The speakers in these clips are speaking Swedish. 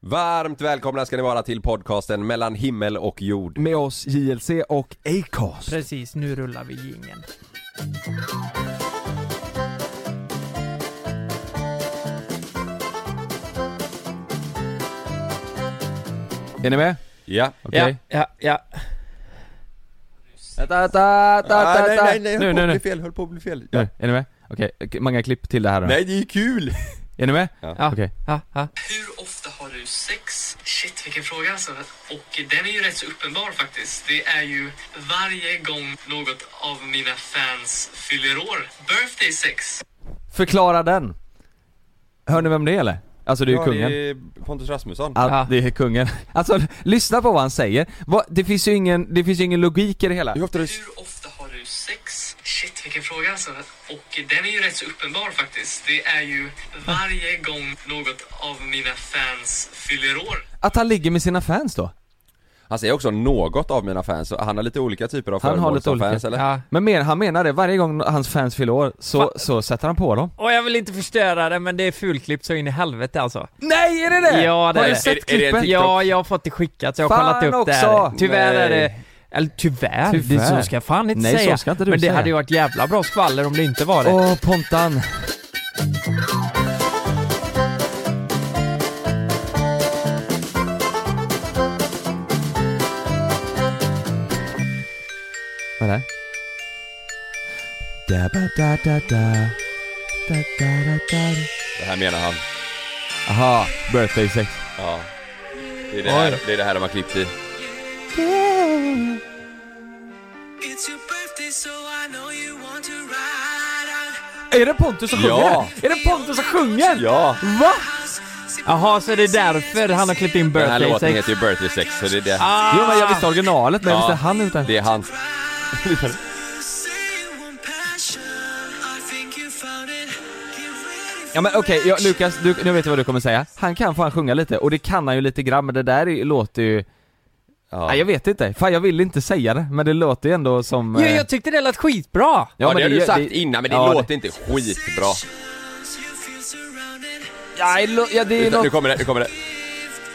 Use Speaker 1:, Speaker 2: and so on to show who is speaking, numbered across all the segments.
Speaker 1: Varmt välkomna ska ni vara till podcasten mellan himmel och jord.
Speaker 2: Med oss JLC och Acast.
Speaker 3: Precis, nu rullar vi jingeln.
Speaker 2: Är ni med?
Speaker 1: Ja.
Speaker 2: Okej.
Speaker 3: Ja, ja.
Speaker 2: Vänta, vänta, vänta,
Speaker 1: Ah, nej,
Speaker 2: vänta.
Speaker 1: nej, nej, höll
Speaker 2: Nu,
Speaker 1: på
Speaker 2: nu,
Speaker 1: att
Speaker 2: nu.
Speaker 1: bli fel, höll på att bli fel. Ja.
Speaker 2: Nu, Är ni med? Okej, okej, många klipp till det här då.
Speaker 1: Nej, det är ju kul!
Speaker 2: Är ni med?
Speaker 1: Ja.
Speaker 3: Ja.
Speaker 2: Okej.
Speaker 3: Ja, ja.
Speaker 4: Hur ofta har du sex? Shit, vilken fråga alltså. Och den är ju rätt så uppenbar faktiskt. Det är ju varje gång något av mina fans fyller år. Birthday sex.
Speaker 2: Förklara den. Hör ni vem det är eller? Alltså det är ju kungen. Ah.
Speaker 1: Det är Pontus Rasmusson.
Speaker 2: Ja,
Speaker 3: Ja.
Speaker 2: det är kungen. Alltså, lyssna på vad han säger. Vad- Det finns ju ingen, det finns ju ingen logik i det hela.
Speaker 1: Hur ofta har du...
Speaker 4: Hur ofta har du sex? Shit, vilken fråga alltså. Och den är ju rätt så uppenbar faktiskt. Det är ju varje gång något av mina fans fyller år.
Speaker 2: Att han ligger med sina fans då.
Speaker 1: Han säger också något av mina fans, så han har lite olika typer av
Speaker 2: Han har
Speaker 1: föremål
Speaker 2: lite
Speaker 1: som
Speaker 2: olika.
Speaker 1: fans eller?
Speaker 3: ja.
Speaker 2: Men men, han menar det, varje gång hans fans fyller år så, så sätter han på dem.
Speaker 3: Och jag vill inte förstöra det, men det är fulklippt så in i helvete alltså.
Speaker 2: Nej, är det det?
Speaker 3: Ja, det
Speaker 2: Har
Speaker 3: är
Speaker 2: du
Speaker 3: det.
Speaker 2: sett
Speaker 1: Är- är det en
Speaker 2: klippet?
Speaker 1: TikTok?
Speaker 3: Ja, jag har fått det skickat så jag har
Speaker 2: Fan
Speaker 3: kollat upp det
Speaker 2: också!
Speaker 3: här. Tyvärr är det...
Speaker 1: Nej.
Speaker 3: Eller tyvärr,
Speaker 2: Tyvärr.
Speaker 3: Det, så ska jag fan inte
Speaker 2: Nej, så
Speaker 3: säga.
Speaker 2: ska inte du
Speaker 3: men det
Speaker 2: säga.
Speaker 3: hade ju varit jävla bra skvaller om det inte var det.
Speaker 2: Åh, Pontan. Vad är det? Da, ba, da, da, da. Da, da, da, da.
Speaker 1: Det här menar han.
Speaker 2: Aha, birthday sex.
Speaker 1: Ja. Det är det,
Speaker 2: Oj.
Speaker 1: här, det är det här de har klippt i.
Speaker 2: Är det Pontus som sjunger?
Speaker 1: Ja.
Speaker 2: Är det Pontus som sjunger?
Speaker 1: Ja!
Speaker 2: Va?
Speaker 3: Jaha, så det är därför han har klippt in
Speaker 1: Den här
Speaker 3: birthday
Speaker 1: låten
Speaker 3: sex.
Speaker 1: heter ju Birthday Sex, så det är det.
Speaker 3: Ah!
Speaker 2: Jo men jag visste originalet men jag
Speaker 1: Ja.
Speaker 2: visste han utan...
Speaker 1: Det är hans.
Speaker 2: Ja men okej, ja, Lukas, du, nu vet jag vad du kommer säga. Han kan fan sjunga lite, och det kan han ju lite grann men det där är, låter ju...
Speaker 1: Ja.
Speaker 2: Nej jag vet inte, fan jag vill inte säga det men det låter ju ändå som...
Speaker 3: Jo,
Speaker 2: eh,
Speaker 3: jag tyckte det lät skitbra!
Speaker 1: Ja, det har du
Speaker 2: gör-
Speaker 1: sagt innan men det
Speaker 2: ja,
Speaker 1: låter inte skitbra.
Speaker 2: Nej, lo, ja, det är
Speaker 1: Utan, nu
Speaker 2: något...
Speaker 1: kommer det, nu kommer det.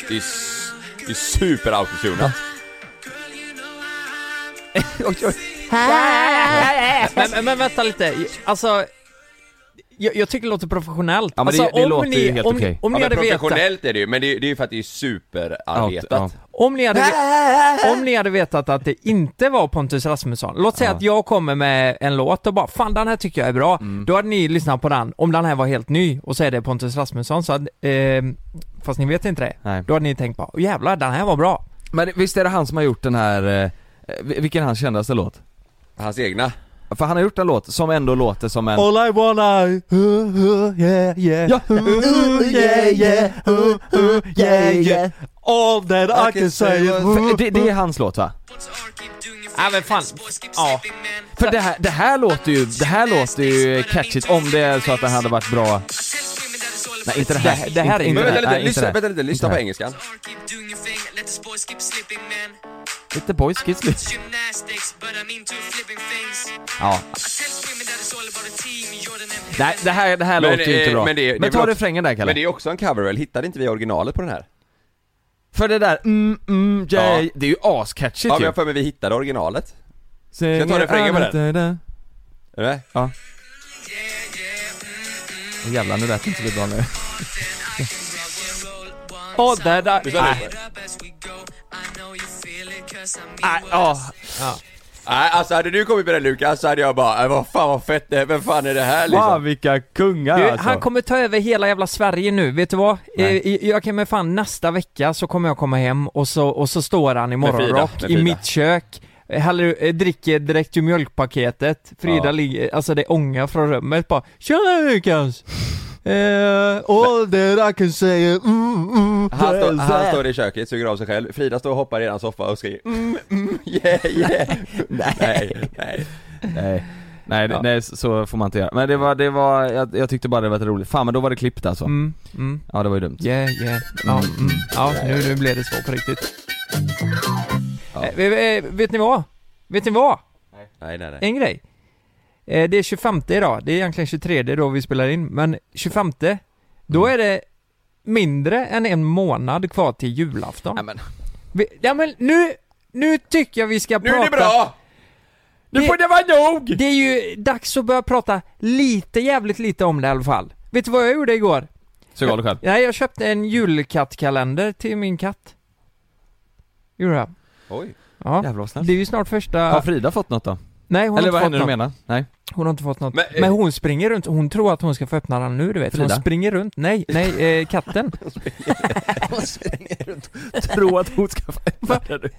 Speaker 1: Det är, s- det är super autotunat.
Speaker 2: Oj, oj.
Speaker 3: Men, men, men vänta lite, alltså... Jag, jag tycker det låter professionellt.
Speaker 2: Ja, men det-
Speaker 3: alltså,
Speaker 2: det
Speaker 3: om
Speaker 2: låter
Speaker 3: ni,
Speaker 2: ju helt
Speaker 3: om,
Speaker 2: okej.
Speaker 3: om
Speaker 1: Ja, men
Speaker 3: ni hade vetat...
Speaker 1: professionellt är det ju, men det är, det är ju för att det är
Speaker 2: Ja,
Speaker 1: superarbetat.
Speaker 3: Om ni, hade, ve- om ni hade vetat att det inte var Pontus Rasmusson, låt säga
Speaker 2: Ja.
Speaker 3: att jag kommer med en låt och bara 'Fan den här tycker jag är bra'
Speaker 2: Mm.
Speaker 3: Då hade ni lyssnat på den, om den här var helt ny och så är det Pontus Rasmusson så hade, eh, Fast ni vet inte det?
Speaker 2: Nej.
Speaker 3: Då hade ni tänkt bara 'Åh, 'Jävlar, den här var bra'
Speaker 2: Men visst är det han som har gjort den här, eh, vil- vilken är hans kändaste låt?
Speaker 1: Hans egna.
Speaker 2: För han har gjort en låt som ändå låter som en...
Speaker 3: All I wanna, yeah yeah
Speaker 2: Ja.
Speaker 3: All that I can say
Speaker 2: För Det, det är hans låt va?
Speaker 3: Ja men fan, ja.
Speaker 2: För det här, det här låter ju, det här låter ju catchigt om det är så att den hade varit bra Nej inte det här,
Speaker 3: Det- det här är
Speaker 2: inte,
Speaker 1: Men vänta
Speaker 3: inte-
Speaker 2: det
Speaker 1: lite,
Speaker 2: här, nej, inte
Speaker 1: lyssna,
Speaker 2: det
Speaker 1: vänta lite, lyssna på
Speaker 2: här.
Speaker 1: engelskan.
Speaker 2: Lite boys kids lite. Ja. Nej det här, det här
Speaker 1: Men,
Speaker 2: låter ju inte
Speaker 1: eh,
Speaker 2: bra.
Speaker 1: men
Speaker 2: Men,
Speaker 1: det- det är
Speaker 2: ta
Speaker 1: väl-
Speaker 2: refrängen där Kalle.
Speaker 1: Men det är också en cover väl? Hittade inte vi originalet på den här?
Speaker 2: För det där mm, mm, yeah,
Speaker 1: Ja.
Speaker 2: det är ju ascatchigt
Speaker 1: Ja men
Speaker 2: ju.
Speaker 1: jag för mig vi hittade originalet.
Speaker 2: Ska jag
Speaker 1: ta refrängen på
Speaker 2: den?
Speaker 1: Är det?
Speaker 2: Ja. Åh jävlar nu lät det inte så bra nu.
Speaker 3: All that I... Nej, nej, ja.
Speaker 1: Nej alltså hade du kommit med den Lukas så hade jag bara, "Äh, vad fan vad fett det är, vem fan är det här
Speaker 2: Fan
Speaker 1: liksom?
Speaker 2: vilka kungar
Speaker 3: Du,
Speaker 2: alltså.
Speaker 3: han kommer ta över hela jävla Sverige nu, vet du vad? Eh,
Speaker 2: Nej.
Speaker 3: Jag kan med fan nästa vecka så kommer jag komma hem och så, och så står han i
Speaker 1: Frida, med
Speaker 3: morgonrock
Speaker 1: Frida.
Speaker 3: i mitt kök eh, häller, eh, dricker direkt ur mjölkpaketet, Frida
Speaker 1: Ja.
Speaker 3: ligger, alltså det ångar från rummet bara Tjena Lukas! Eh, all that I can say is, mm, mm,
Speaker 1: Han, står-
Speaker 3: that's
Speaker 1: han
Speaker 3: that."
Speaker 1: står i köket, suger av sig själv, Frida står och hoppar i hans soffa och skriker mm, mm, yeah, yeah. nej, nej.
Speaker 2: Nej, nej, det-
Speaker 3: Ja.
Speaker 2: nej så- så får man inte göra. Men det var, det var, jag, jag tyckte bara det var lite roligt. Fan men då var det klippt alltså.
Speaker 3: Mm, mm.
Speaker 2: Ja det var ju dumt.
Speaker 3: Yeah, yeah. Ja, mm. ja nu, nu blev det så på riktigt.
Speaker 1: Ja.
Speaker 3: Eh, eh, vet ni vad? Vet ni vad?
Speaker 1: Nej, nej, nej.
Speaker 3: En grej. Eh, det är
Speaker 1: Mm.
Speaker 3: 25 idag, det är egentligen 23 då vi spelar in, men 25 då är det mindre än en månad kvar till julafton.
Speaker 1: Nej, men.
Speaker 3: Vi, ja men nu, nu tycker jag vi ska
Speaker 1: Nu
Speaker 3: prata...
Speaker 1: är det bra! Nu
Speaker 3: Det-
Speaker 1: får det vara nog!
Speaker 3: Det är ju dags att börja prata lite jävligt lite om det i alla fall. Vet du vad jag gjorde igår?
Speaker 2: Så galet själv.
Speaker 3: Nej, jag köpte en julkattkalender till min katt. Gjorde jag.
Speaker 1: Oj,
Speaker 3: Ja.
Speaker 2: Jävlar vad snällt.
Speaker 3: Det är ju snart första...
Speaker 2: Har Frida fått något då?
Speaker 3: Nej, hon
Speaker 2: Eller
Speaker 3: har
Speaker 2: vad
Speaker 3: inte fått
Speaker 2: henne du menar?
Speaker 3: något.
Speaker 2: Nej.
Speaker 3: Hon har inte fått något. Men,
Speaker 1: Men, eh,
Speaker 3: hon springer runt, hon tror att hon ska få öppna den nu du vet.
Speaker 2: Frida?
Speaker 3: Hon springer runt, nej, nej, eh, katten.
Speaker 2: Tro att hon ska fatta det.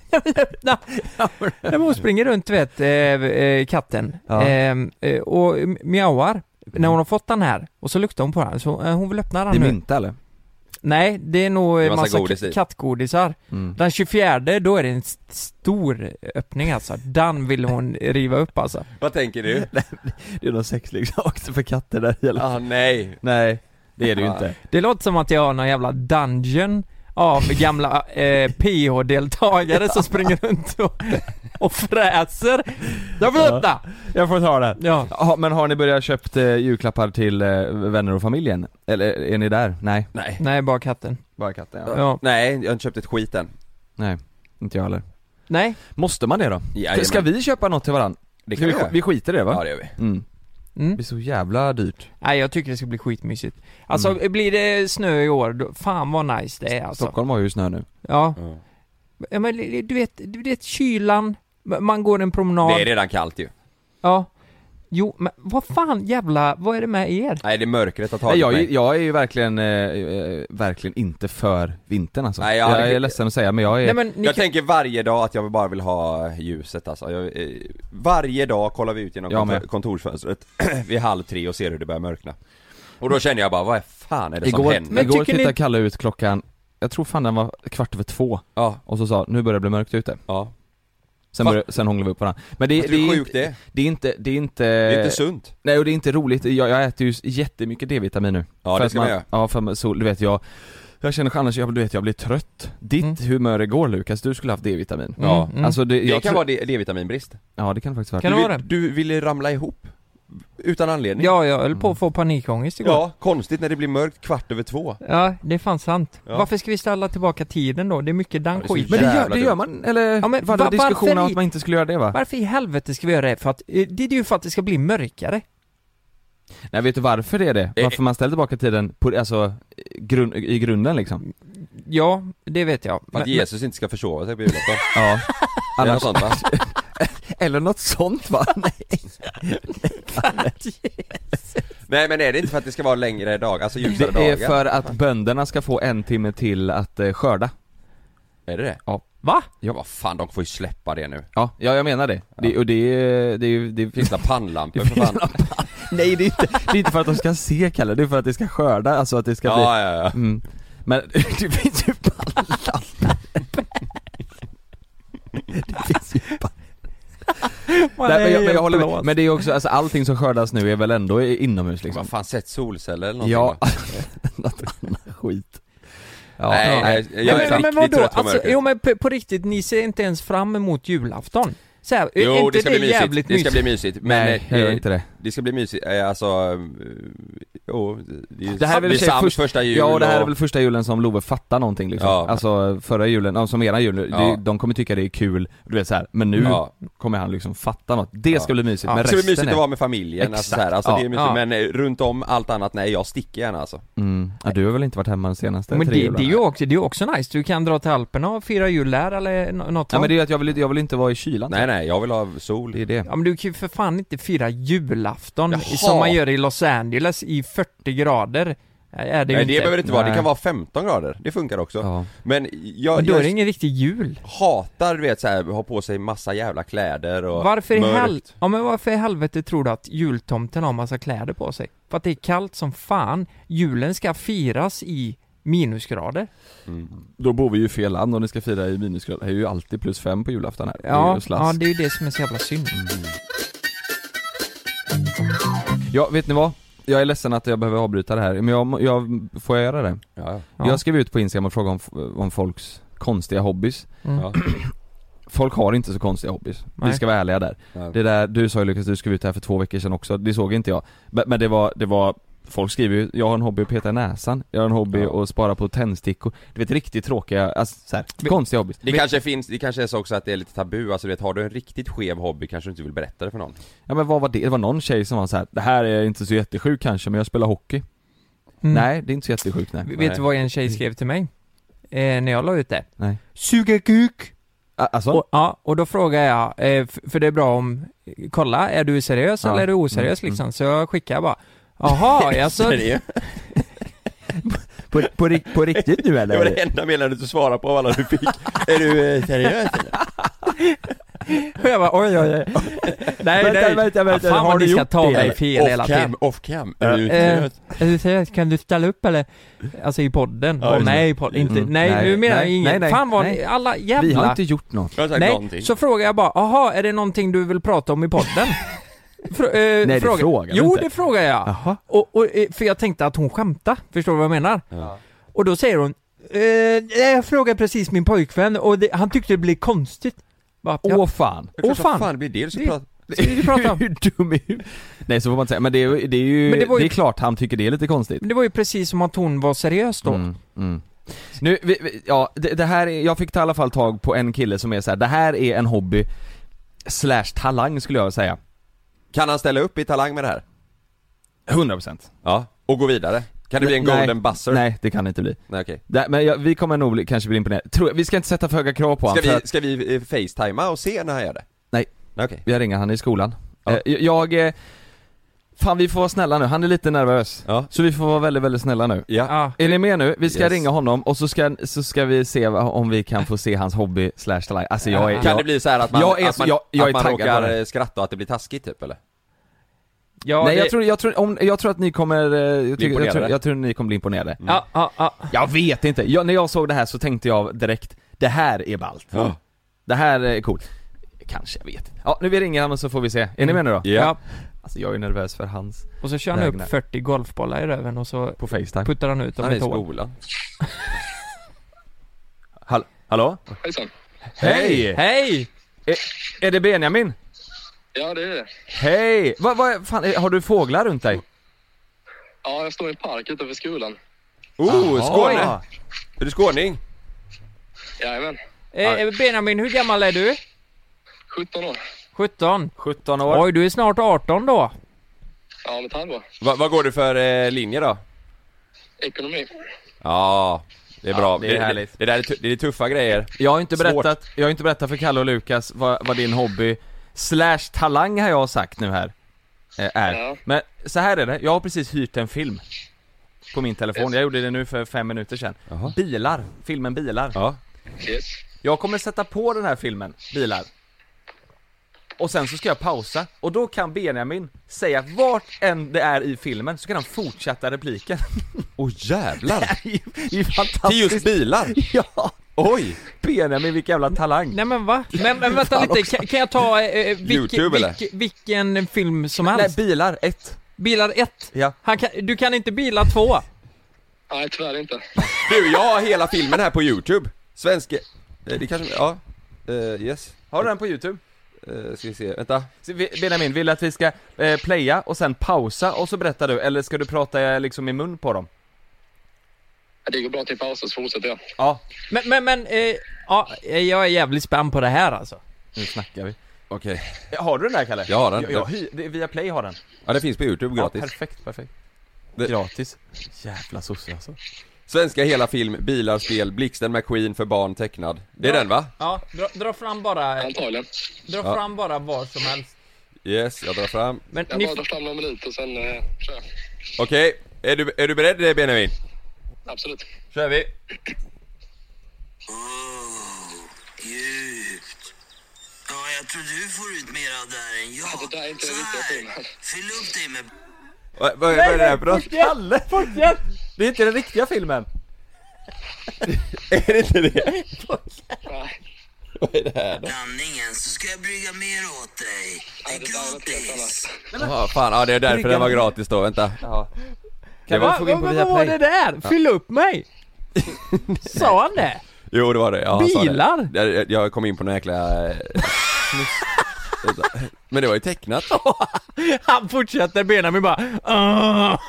Speaker 3: nej, men hon springer runt du vet, eh, eh, katten.
Speaker 2: Ja. Mm.
Speaker 3: Eh, eh, och mjauar. När hon har fått den här, och så luktar hon på den, så eh, hon vill öppna den
Speaker 2: Det är
Speaker 3: nu.
Speaker 2: mynta eller?
Speaker 3: Nej, det är nog
Speaker 1: Det är
Speaker 3: massa,
Speaker 1: massa
Speaker 3: massa
Speaker 1: godis
Speaker 3: k-
Speaker 1: i.
Speaker 3: kattgodisar.
Speaker 2: Mm.
Speaker 3: Den 24, då är det en st- stor öppning alltså. Den vill hon riva upp alltså.
Speaker 1: vad tänker du?
Speaker 2: Det är någon sexleksak för katter där i alla fall.
Speaker 1: Ah nej,
Speaker 2: Nej, det är det ju
Speaker 1: Ja.
Speaker 2: inte.
Speaker 3: Det låter som att jag har någon jävla dungeon av gamla eh, PH-deltagare som springer runt och, och fräser. Jag får
Speaker 2: Ja.
Speaker 3: öppna!
Speaker 2: Jag får ta det.
Speaker 3: Ja.
Speaker 2: Ja, men har ni börjat köpt eh, julklappar till eh, vänner och familjen? Eller är ni där? Nej,
Speaker 1: nej,
Speaker 3: Nej, bara katten.
Speaker 2: bara katten ja.
Speaker 3: Ja.
Speaker 1: nej, jag har inte köpt ett skit än
Speaker 2: Nej, inte jag heller.
Speaker 3: Nej,
Speaker 2: Måste man det då?
Speaker 1: Jajamän.
Speaker 2: Ska vi köpa något till varandra?
Speaker 1: Det
Speaker 2: Ska
Speaker 1: kan
Speaker 2: vi,
Speaker 1: vi göra.
Speaker 2: vi skiter i det va?
Speaker 1: Ja det gör vi
Speaker 2: Mm. Det
Speaker 3: mm.
Speaker 2: blir så jävla dyrt.
Speaker 3: Nej, jag tycker det ska bli skitmysigt. Alltså, blir det snö i år, då, fan vad nice det är alltså.
Speaker 2: Stockholm har ju snö nu.
Speaker 3: Ja.
Speaker 1: Mm.
Speaker 3: ja, men du vet, du vet kylan, man går en promenad.
Speaker 1: Det är redan kallt ju
Speaker 3: Ja. Jo, men vad fan jävla, vad är det med er?
Speaker 1: Nej det är mörkret har tagit
Speaker 2: Nej, jag, är-
Speaker 1: mig
Speaker 2: jag är ju verkligen, eh, eh, verkligen inte för vintern alltså.
Speaker 1: Nej, jag
Speaker 2: jag,
Speaker 1: hade-
Speaker 2: är ledsen att säga men jag är...
Speaker 3: Nej men ni
Speaker 1: Jag
Speaker 3: kan...
Speaker 1: tänker varje dag att jag bara vill ha ljuset alltså. jag, eh, Varje dag kollar vi ut genom
Speaker 2: Jag
Speaker 1: kontor,
Speaker 2: med.
Speaker 1: kontorsfönstret vid halv tre och ser hur det börjar mörkna Och då känner jag bara, vad fan är det som
Speaker 2: igår
Speaker 1: händer?
Speaker 3: Men
Speaker 2: igår
Speaker 3: tycker ni-
Speaker 2: tittade Kalle ut klockan, jag tror fan den var kvart över två,
Speaker 1: Ja,
Speaker 2: och så sa nu börjar det bli mörkt ute.
Speaker 1: ja
Speaker 2: Sen,
Speaker 1: Va?
Speaker 2: började, sen hånglade vi upp varandra. Men det, eh,
Speaker 1: Fast hur
Speaker 2: är
Speaker 1: sjukt
Speaker 2: inte-
Speaker 1: det är?
Speaker 2: det är inte, det är inte...
Speaker 1: Det är inte sunt
Speaker 2: Nej och det är inte roligt, jag, jag äter ju jättemycket D-vitamin nu
Speaker 1: Ja,
Speaker 2: För
Speaker 1: det
Speaker 2: att
Speaker 1: ska man göra.
Speaker 2: Ja för man- så, du vet jag Jag känner annars, jag, du vet jag blir trött Ditt
Speaker 3: Mm.
Speaker 2: humör igår Lukas, du skulle haft D-vitamin
Speaker 3: Mm,
Speaker 2: Ja,
Speaker 3: mm.
Speaker 2: alltså det,
Speaker 1: Det
Speaker 2: jag
Speaker 1: kan
Speaker 2: tror-
Speaker 1: vara D- D-vitaminbrist
Speaker 2: Ja det kan det faktiskt vara
Speaker 3: Kan
Speaker 1: du,
Speaker 3: det vara
Speaker 1: vill- du ville ramla ihop Utan anledning
Speaker 3: Ja, jag höll på att få panikångest igår. Ja.
Speaker 1: Ja, konstigt när det blir mörkt kvart över två
Speaker 3: det är fan sant.
Speaker 1: Ja.
Speaker 3: Varför ska vi ställa tillbaka tiden då? Det är mycket den
Speaker 1: Ja, det är så
Speaker 3: skiten.
Speaker 2: Men det gör,
Speaker 1: Jävla
Speaker 2: det gör
Speaker 1: dumt.
Speaker 2: man, eller
Speaker 3: Ja,
Speaker 2: ja,
Speaker 3: men
Speaker 2: men, var det
Speaker 3: va-
Speaker 2: diskussion om
Speaker 3: varför
Speaker 2: att man inte skulle göra det va?
Speaker 3: Varför i helvete ska vi göra det? För att, eh, det är ju för att det ska bli mörkare.
Speaker 2: Nej vet du varför det är det?
Speaker 1: Det-
Speaker 2: Varför man ställer tillbaka tiden på, alltså, i grund, i grunden liksom?
Speaker 3: Ja, det vet jag.
Speaker 1: För att
Speaker 3: Men-
Speaker 1: Jesus inte ska försova sig på julafton
Speaker 2: Ja
Speaker 1: Det är något
Speaker 2: Annars,
Speaker 1: sånt va?
Speaker 2: Eller något sånt va? Nej.
Speaker 1: Nej men är det inte för att det ska vara längre dagar, alltså ljusare
Speaker 2: Det är
Speaker 1: dagar?
Speaker 2: för att bönderna ska få en timme till att eh, skörda
Speaker 1: Är det det?
Speaker 3: Va?
Speaker 1: Ja vad fan, de får ju släppa det nu
Speaker 2: Ja, ja jag menar det. det och det, är- det, är ju- det
Speaker 1: Finns
Speaker 2: finns
Speaker 1: det pannlampor för fan?
Speaker 2: Nej det är, inte, det är inte för att de ska se Kalle, det är för att det ska skörda, alltså att det ska
Speaker 1: Ja, ja, ja.
Speaker 2: bli mm. Men det finns ju pallar Det finns ju pallar Nej, men, jag, men jag håller med, men det är ju också, alltså allting som skördas nu är väl ändå i- inomhus liksom
Speaker 1: Vad fan, sätt solceller eller någonting
Speaker 2: Ja,
Speaker 1: va?
Speaker 2: något annat skit ja,
Speaker 1: Nej, nej, jag är
Speaker 3: Nej, men,
Speaker 1: riktigt
Speaker 3: men vadå?
Speaker 1: trött på
Speaker 3: Alltså,
Speaker 1: mörkret
Speaker 3: jo men på, på riktigt, ni ser inte ens fram emot julafton. Så här, är
Speaker 1: Jo,
Speaker 3: inte
Speaker 1: det ska
Speaker 3: det
Speaker 1: bli mysigt,
Speaker 3: jävligt
Speaker 1: det ska
Speaker 3: mysigt?
Speaker 1: bli mysigt men
Speaker 2: Nej, jag gör
Speaker 1: eh,
Speaker 2: inte det.
Speaker 1: Det ska bli mysigt, eh, alltså, eh, jo, det, är-
Speaker 2: Det här är väl
Speaker 1: det är
Speaker 2: i och för sig
Speaker 1: sams
Speaker 2: först-
Speaker 1: första jul
Speaker 2: Ja och det här är
Speaker 1: och-
Speaker 2: väl första julen som Love fattar någonting liksom.
Speaker 1: Ja.
Speaker 2: Alltså förra julen, ja, som era jul,
Speaker 1: Ja.
Speaker 2: det, de kommer tycka det är kul, du vet så här, men nu
Speaker 1: Ja.
Speaker 2: kommer han liksom fatta något. Det
Speaker 1: Ja.
Speaker 2: ska bli mysigt,
Speaker 3: Ja.
Speaker 2: men
Speaker 1: Det ska bli
Speaker 2: resten
Speaker 1: mysigt
Speaker 2: är...
Speaker 1: att vara med familjen, alltså, så här, alltså
Speaker 2: Ja,
Speaker 1: det är mysigt,
Speaker 3: ja.
Speaker 1: men eh, runt om allt annat, nej jag sticker gärna alltså
Speaker 2: mm. ja, du har väl inte varit hemma de senaste
Speaker 3: Men
Speaker 2: tre
Speaker 3: det, det, är
Speaker 2: jularna?
Speaker 3: ju också, det är ju också nice, du kan dra till Alperna och fira jul där eller nå- något
Speaker 2: Ja
Speaker 3: sånt.
Speaker 2: men det är ju att jag vill, jag vill inte vara i kylan.
Speaker 1: Nej nej, jag vill ha sol
Speaker 2: Det är det.
Speaker 3: Ja men du kan ju för fan inte fira julafton
Speaker 1: Jaha.
Speaker 3: som man gör i Los Angeles i 40 grader. Nej, Är det ju
Speaker 1: Nej det
Speaker 3: inte.
Speaker 1: behöver det inte vara, det
Speaker 2: Nej.
Speaker 1: kan vara 15 grader, det funkar också
Speaker 2: Ja.
Speaker 1: Men jag,
Speaker 3: Men då är det
Speaker 1: jag
Speaker 3: ingen riktig jul.
Speaker 1: hatar du vet så här, ha på sig massa jävla kläder och
Speaker 3: Varför i,
Speaker 1: mörkt.
Speaker 3: hel... ja, men varför i helvete tror du att jultomten har massa kläder på sig? För att det är kallt som fan. Julen ska firas i minusgrader.
Speaker 2: Då bor vi ju i fel land om ni ska fira i minusgrader. Det är ju alltid plus fem på julafton här. det är
Speaker 3: Ja,
Speaker 2: ju slask. Mm.
Speaker 3: ja det är ju det som är så jävla synd.
Speaker 2: ja, vet ni vad? Jag är ledsen att jag behöver avbryta det här, men jag, må- jag får jag göra det?
Speaker 1: Ja, ja.
Speaker 3: Ja.
Speaker 2: Jag skrev ut på Instagram och frågade om, f- om folks konstiga hobbys.
Speaker 3: Mm.
Speaker 1: Ja.
Speaker 2: Folk har inte så konstiga hobbys,
Speaker 3: Nej.
Speaker 2: vi ska vara ärliga där.
Speaker 1: Ja.
Speaker 2: Det där, du sa ju Lukas, du skrev ut det här för två veckor sedan också, det såg inte jag. Men, men det var, det var Folk skriver ju, jag har en hobby att peta i näsan, jag har en hobby att spara på tändstickor Du vet riktigt tråkiga, alltså, så här, konstiga hobbys
Speaker 1: Det kanske finns, det kanske är så också att det är lite tabu, alltså du vet, har du en riktigt skev hobby kanske du inte vill berätta det för någon
Speaker 2: Ja men vad var det? Det var någon tjej som var så här, det här är inte så jättesjukt kanske men jag spelar hockey
Speaker 3: Mm.
Speaker 2: Nej, det är inte så jättesjukt nej
Speaker 3: Vet du vad en tjej skrev till mig? Eh, när jag la ut det?
Speaker 2: Nej.
Speaker 3: Suga kuk!
Speaker 2: A- Alltså?
Speaker 3: Och, ja, och då frågar jag, eh, f- för det är bra om, kolla, är du seriös
Speaker 2: Ja. Mm.
Speaker 3: eller är du oseriös liksom? Så jag skickar bara, jaha, alltså,
Speaker 2: På, på, ri- på riktigt nu
Speaker 1: Det
Speaker 2: eller?
Speaker 1: var det enda meddelandet du svarade på av alla du fick Är du eh, seriös eller?
Speaker 3: och jag bara, oj oj oj. Nej,
Speaker 2: Vänta,
Speaker 3: nej.
Speaker 2: vänta, vänta,
Speaker 3: Fan
Speaker 2: har
Speaker 3: vad
Speaker 2: du
Speaker 3: ni ska
Speaker 2: gjort
Speaker 3: ta
Speaker 2: det,
Speaker 3: mig
Speaker 2: eller?
Speaker 3: fel hela
Speaker 1: Off cam,
Speaker 3: tiden.
Speaker 1: off cam, är du
Speaker 3: Eh,
Speaker 1: seriös?
Speaker 3: Är du seriös? Kan du ställa upp eller? Alltså i podden?
Speaker 1: Ja,
Speaker 3: Ja,
Speaker 1: just det.
Speaker 3: nej, i podden. Inte,
Speaker 2: Mm.
Speaker 3: nej,
Speaker 2: Nej,
Speaker 3: nu menar jag
Speaker 2: nej,
Speaker 3: ingen.
Speaker 2: nej, nej,
Speaker 3: Fan vad
Speaker 2: nej.
Speaker 3: ni, alla jävla...
Speaker 2: Vi har inte gjort något
Speaker 1: Jag har sagt
Speaker 3: Nej,
Speaker 1: någonting
Speaker 3: så frågar jag bara, aha, är det någonting du vill prata om i podden? Frå, eh,
Speaker 2: det frågar du
Speaker 3: Jo,
Speaker 2: inte.
Speaker 3: det frågar jag.
Speaker 2: Jaha,
Speaker 3: Och, och, eh, för jag tänkte att hon skämtade, förstår du vad jag menar?
Speaker 1: Ja.
Speaker 3: Och då säger hon, eh, nej, jag frågade precis min pojkvän och det, han tyckte det blev konstigt. Bara,
Speaker 2: åh
Speaker 3: ja,
Speaker 2: fan!
Speaker 1: Det är klart
Speaker 3: åh,
Speaker 1: som
Speaker 3: fan.
Speaker 1: fan blir det du ska
Speaker 3: Det-
Speaker 1: prata
Speaker 3: så vi pratar om.
Speaker 2: Hur dum är du? Nej så får man inte säga, men det är, ju- det är ju,
Speaker 3: Men
Speaker 2: det,
Speaker 3: det var ju-
Speaker 2: är klart han tycker det är lite konstigt
Speaker 3: Men det var ju precis som att hon var seriös då.
Speaker 2: Mm, mm. Nu, vi, vi, ja, det, det här är, jag fick i alla fall tag på en kille som är så här. det här är en hobby slash talang skulle jag säga.
Speaker 1: Kan han ställa upp i Talang med det här?
Speaker 2: 100%
Speaker 1: Ja, och gå vidare? Kan det bli en
Speaker 2: Nej.
Speaker 1: golden buzzer?
Speaker 2: Nej, det kan det inte bli.
Speaker 1: Nej okej
Speaker 2: Det, men jag, vi kommer nog bli, kanske bli imponerade. Tror jag, vi ska inte sätta för höga krav på honom
Speaker 1: Ska
Speaker 2: för
Speaker 1: vi,
Speaker 2: att
Speaker 1: ska vi eh, facetimea och se när han gör det?
Speaker 2: Nej.
Speaker 1: Nej, Okej
Speaker 2: jag ringer han i skolan.
Speaker 1: Ja.
Speaker 2: Eh, jag, jag, eh, fan vi får vara snälla nu, han är lite nervös.
Speaker 1: Ja.
Speaker 2: Så vi får vara väldigt, väldigt snälla nu.
Speaker 1: Ja,
Speaker 3: Ja.
Speaker 2: Är ni med nu? Vi ska
Speaker 1: Yes.
Speaker 2: ringa honom och så ska, så ska vi se vad- om vi kan få se hans hobby slash talang. Alltså jag är,
Speaker 1: Kan
Speaker 2: jag,
Speaker 1: det bli så här att man,
Speaker 2: Jag är
Speaker 1: att
Speaker 2: så-
Speaker 1: man,
Speaker 2: jag- jag
Speaker 1: att
Speaker 2: är
Speaker 1: man
Speaker 2: taggad på
Speaker 1: råkar
Speaker 2: det.
Speaker 1: eh, skratta och att det blir taskigt typ eller?
Speaker 3: Ja,
Speaker 2: Nej
Speaker 3: det-
Speaker 2: jag tror, jag tror, om, jag tror att ni kommer, eh, jag, tycker, jag,
Speaker 1: imponerade.
Speaker 2: tror, jag tror ni kommer bli imponerade
Speaker 3: Ja, ja, ja.
Speaker 2: Jag vet inte, jag, när jag såg det här så tänkte jag direkt, det här är ballt
Speaker 1: Ja.
Speaker 2: Det här är coolt Kanske, jag vet inte. Ja, nu vi ringer honom så får vi se. Är ni med nu då?
Speaker 3: ja.
Speaker 2: Alltså jag är nervös för hans,
Speaker 3: Och så kör han upp
Speaker 2: Vägnar.
Speaker 3: 40 golfbollar i röven och så
Speaker 2: på Facetime
Speaker 3: puttar han ut dem
Speaker 1: Han är
Speaker 3: i
Speaker 1: i
Speaker 3: tån.
Speaker 1: skolan
Speaker 2: Hall- Hallå?
Speaker 4: Hejsan.
Speaker 2: Hej!
Speaker 3: Hej!
Speaker 2: Är det Benjamin?
Speaker 4: Ja, det är det.
Speaker 2: Hej! Vad, vad, fan, eh, har du fåglar runt dig?
Speaker 4: Ja, jag står i en park utanför skolan.
Speaker 1: Oh, Skåne!
Speaker 2: Ja.
Speaker 1: Är du skåning?
Speaker 4: Jajamän.
Speaker 3: Eh, Benjamin, hur gammal är du?
Speaker 4: 17 år.
Speaker 3: 17?
Speaker 2: 17 år
Speaker 3: Oj, du är snart 18 då.
Speaker 4: Ja, om ett halvår.
Speaker 1: Va, vad går du för eh, linje då?
Speaker 4: Ekonomi.
Speaker 1: Ja, det är bra.
Speaker 2: det är härligt.
Speaker 1: Det, det, där är, tu- det är tuffa grejer.
Speaker 2: Jag har inte
Speaker 1: Svårt.
Speaker 2: berättat, jag har inte berättat för Kalle och Lukas vad, vad din hobby slash talang har jag sagt nu här eh, är.
Speaker 4: Ja.
Speaker 2: Men så här är det, jag har precis hyrt en film på min telefon, jag gjorde det nu för fem minuter sedan.
Speaker 1: Jaha.
Speaker 2: Bilar, filmen Bilar.
Speaker 1: Ja.
Speaker 4: Yes.
Speaker 2: Jag kommer sätta på den här filmen, Bilar. Och sen så ska jag pausa, och då kan Benjamin säga vart än det är i filmen, så kan han fortsätta repliken.
Speaker 1: Åh jävlar!
Speaker 2: det är ju- det är ju
Speaker 1: Till just
Speaker 2: fantastiskt!
Speaker 1: bilar!
Speaker 2: Ja!
Speaker 1: Oj!
Speaker 2: Benjamin, vilken jävla talang!
Speaker 3: Nej men va? Men, men vänta lite, kan, kan jag ta eh, eh, vilk,
Speaker 1: YouTube, eller?
Speaker 3: vilk, vilken film som
Speaker 2: Nej,
Speaker 3: helst?
Speaker 2: Bilar, ett.
Speaker 3: Bilar 1?
Speaker 2: Ja.
Speaker 3: Han kan, du kan inte bila 2?
Speaker 4: Nej, tyvärr inte.
Speaker 1: Du, jag har hela filmen här på youtube. Svenske... eh, Det kanske... Ja. Eh, yes.
Speaker 2: Har du den på youtube?
Speaker 1: Eh, ska vi se, vänta.
Speaker 2: Så vi- Benjamin, vill du att vi ska eh, playa och sen pausa och så berättar du, eller ska du prata eh, liksom i mun på dem?
Speaker 4: Det går bra till pausen så fortsätter jag.
Speaker 2: Ja,
Speaker 3: Men, men, men, eh, ja, jag är jävligt spänd på det här alltså.
Speaker 2: nu snackar vi.
Speaker 1: Okej.
Speaker 2: Eh, Har du den där Kalle?
Speaker 1: Jag har den.
Speaker 2: Jag, jag, hy- det- via play har den.
Speaker 1: Ja, det finns på youtube
Speaker 2: Ja,
Speaker 1: gratis.
Speaker 2: perfekt, perfekt.
Speaker 1: Det-
Speaker 2: Gratis. Jävla sosse alltså.
Speaker 1: Svenska hela film, bilar, spel, Blixten McQueen för barn tecknad. Det är den va?
Speaker 3: Ja, dra, dra fram bara,
Speaker 4: Antagligen.
Speaker 3: dra
Speaker 1: Ja.
Speaker 3: fram bara var som helst.
Speaker 1: Yes, jag drar fram.
Speaker 3: Men
Speaker 4: Jag
Speaker 3: ni,
Speaker 4: bara tar fram någon minut och sen eh, kör jag.
Speaker 1: Okej, är, du, är du beredd eh, Benjamin?
Speaker 4: Absolut.
Speaker 1: kör vi!
Speaker 5: Djupt. Ja, jag tror du får ut mer av det här än jag.
Speaker 4: Alltså, det här är inte den
Speaker 5: Så
Speaker 4: riktiga
Speaker 5: här,
Speaker 4: filmen.
Speaker 5: Fyll upp dig med...
Speaker 1: Vad, vad, vad är det här för något?
Speaker 2: Kalle! Fortsätt! Det är inte den riktiga filmen.
Speaker 1: Är det inte det?
Speaker 4: Nej,
Speaker 1: Vad är det här då?
Speaker 5: Blandningen så ska jag brygga mer åt dig. Det
Speaker 4: nej,
Speaker 5: är
Speaker 4: det där var något helt
Speaker 5: gratis.
Speaker 4: annat.
Speaker 1: Jaha, fan, ja det är därför den var gratis då, vänta.
Speaker 2: Ja.
Speaker 1: Det
Speaker 2: Kan
Speaker 1: var-
Speaker 2: vi få gå in på
Speaker 3: men vad var det
Speaker 2: Viaplay?
Speaker 3: där? Fyll upp mig! Sa han det?
Speaker 1: Jo det var det, ja, han sa det.
Speaker 3: Bilar?
Speaker 1: Jag, jag kom in på några jäkla... eh, Men det var ju tecknat.
Speaker 3: Han fortsätter Benjamin bara "Åh."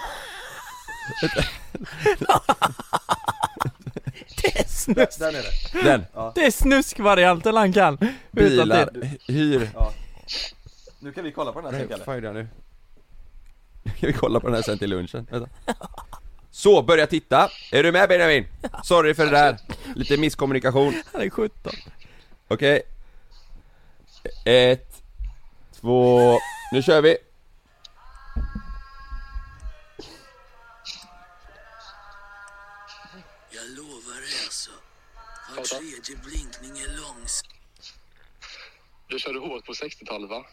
Speaker 3: Det är snus-
Speaker 6: Där nere.
Speaker 1: Den,
Speaker 3: det är snuskvarianten han kan! Utan
Speaker 1: bilar,
Speaker 3: till.
Speaker 1: hyr
Speaker 6: Nu kan vi kolla på den här
Speaker 1: Nej,
Speaker 6: sen Kalle.
Speaker 1: vad fan gör jag nu? Kan vi kolla på den här sen till lunchen? Vänta. Så, börja titta! Är du med Benjamin? Sorry för det där, lite misskommunikation
Speaker 3: Han är 17.
Speaker 1: Okej Ett Två Nu kör vi!
Speaker 5: Jag lovar dig alltså. Var tredje blinkning är långs.
Speaker 7: Du körde hårt på 60-talet va?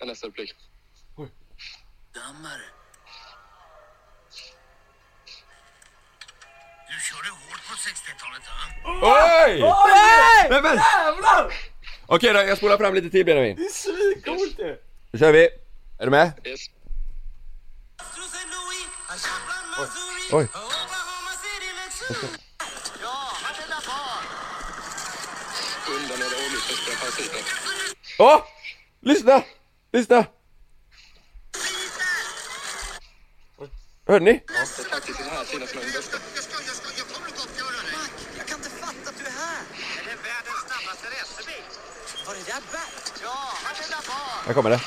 Speaker 7: Är nästa replik.
Speaker 5: dammare. Du körde hårt på 60-talet, va?
Speaker 1: Oj! Nej! men! Okej då, jag spolar fram lite till Benjamin Det är svincoolt Nu kör vi! Är du med?
Speaker 7: Yes.
Speaker 1: Oj.
Speaker 7: Undan några olyckor parasiten.
Speaker 1: Åh! Lyssna! Lyssna! Hörde ni?
Speaker 7: Det är faktiskt den här tiden som är den bästa.
Speaker 5: Jag kan inte fatta att du är här. Det är världens snabbaste racerbil. Var det där Bert? Ja, han är där bak.
Speaker 1: Här kommer det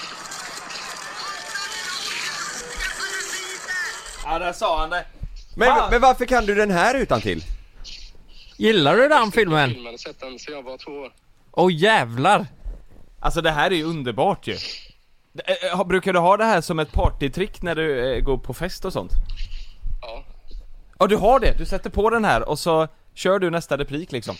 Speaker 6: Ja, där sa han det.
Speaker 1: Men,
Speaker 6: Fan.
Speaker 1: men varför kan du den här utan till?
Speaker 3: Gillar du den filmen?
Speaker 7: Filmen, sett den sedan jag var två år.
Speaker 3: Åh jävlar!
Speaker 2: Alltså det här är ju underbart ju. Det- eh, eh, Brukar du ha det här som ett partytrick när du eh, går på fest och sånt?
Speaker 7: Ja.
Speaker 2: Ja du har det, du sätter på den här och så kör du nästa replik liksom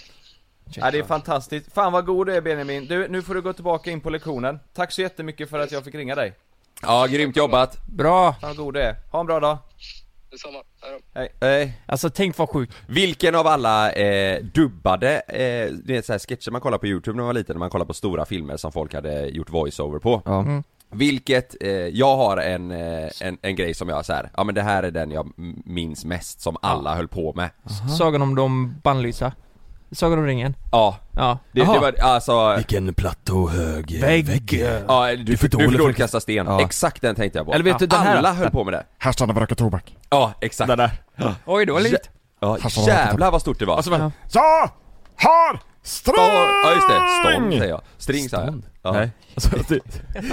Speaker 2: Ja det är fantastiskt, fan vad god du är Benjamin, du nu får du gå tillbaka in på lektionen Tack så jättemycket för att jag fick ringa dig,
Speaker 1: Ja, grymt jobbat!
Speaker 3: Bra!
Speaker 2: fan vad god du är, ha en bra dag
Speaker 7: Detsamma. Hej då.
Speaker 1: Eh,
Speaker 3: Alltså tänk vad sjukt.
Speaker 1: vilken av alla eh, dubbade, eh, det är så här sketcher man kollar på youtube när man var liten, när man kollar på stora filmer som folk hade gjort voiceover på Vilket, eh, jag har en, eh, en, en grej som jag så här, ja men det här är den jag m- minns mest som alla höll på med
Speaker 3: Sagan om de bannlysa. Sagan om ringen.
Speaker 1: Ja,
Speaker 3: Ja.
Speaker 1: det, det
Speaker 3: Jaha.
Speaker 1: var alltså,
Speaker 6: Vilken platåhög
Speaker 3: Vägg.
Speaker 1: ja, du, du för
Speaker 6: dålig
Speaker 1: dåligt
Speaker 6: för att-
Speaker 1: kasta sten, exakt den tänkte jag på
Speaker 2: Eller vet du, den här
Speaker 1: Alla
Speaker 2: då?
Speaker 1: höll på med det
Speaker 8: Här stannar vi röka tobak.
Speaker 1: Ja, exakt
Speaker 3: Oj, det var likt.
Speaker 1: Ja, jävlar vad stort det var!
Speaker 8: Jag har
Speaker 1: Ja just det, stånd
Speaker 8: sträng!
Speaker 1: säger jag. String sa jag. Ja.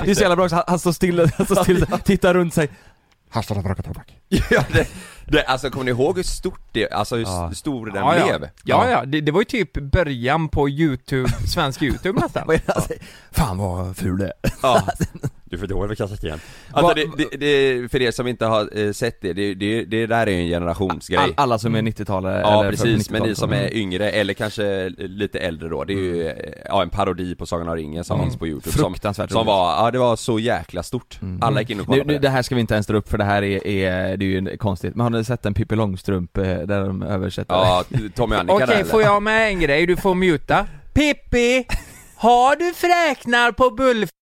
Speaker 2: Det är så jävla bra också, han, han står still, han står still, tittar runt sig
Speaker 8: Här stannar vi röka tobak.
Speaker 1: ja, det, det, alltså kommer ni ihåg hur stort det, alltså hur s- stor den
Speaker 3: Ja, ja.
Speaker 1: blev?
Speaker 3: ja, ja. Det, det var ju typ början på YouTube, svensk YouTube nästan.
Speaker 6: Fan vad ful det är.
Speaker 1: Ja. Du får inte ihåg kastat igen. Alltså det, det, det, för er som inte har eh, sett det, det, det, det där är ju en generationsgrej.
Speaker 2: All, Alla som är 90-talare
Speaker 1: ja
Speaker 2: eller
Speaker 1: precis,
Speaker 2: 90-talet.
Speaker 1: men ni som är yngre eller kanske lite äldre då, det är ju eh, ja, en parodi på Sagan om ringen som finns på youtube som,
Speaker 2: Fruktansvärt
Speaker 1: som
Speaker 2: roligt.
Speaker 1: var, ja det var så jäkla stort. Alla gick in och kollade
Speaker 2: nu,
Speaker 1: på
Speaker 2: Mm. nu,
Speaker 1: Mm. det.
Speaker 2: det här ska vi inte ens dra upp för det här är, är det är ju konstigt, men har ni sett en Pippi Långstrump eh, där de översätter?
Speaker 1: Ja, Tommy och Annika
Speaker 3: Okej,
Speaker 1: där eller?
Speaker 3: får jag med en grej? Du får muta. Pippi! Har du fräknar på bullfittan?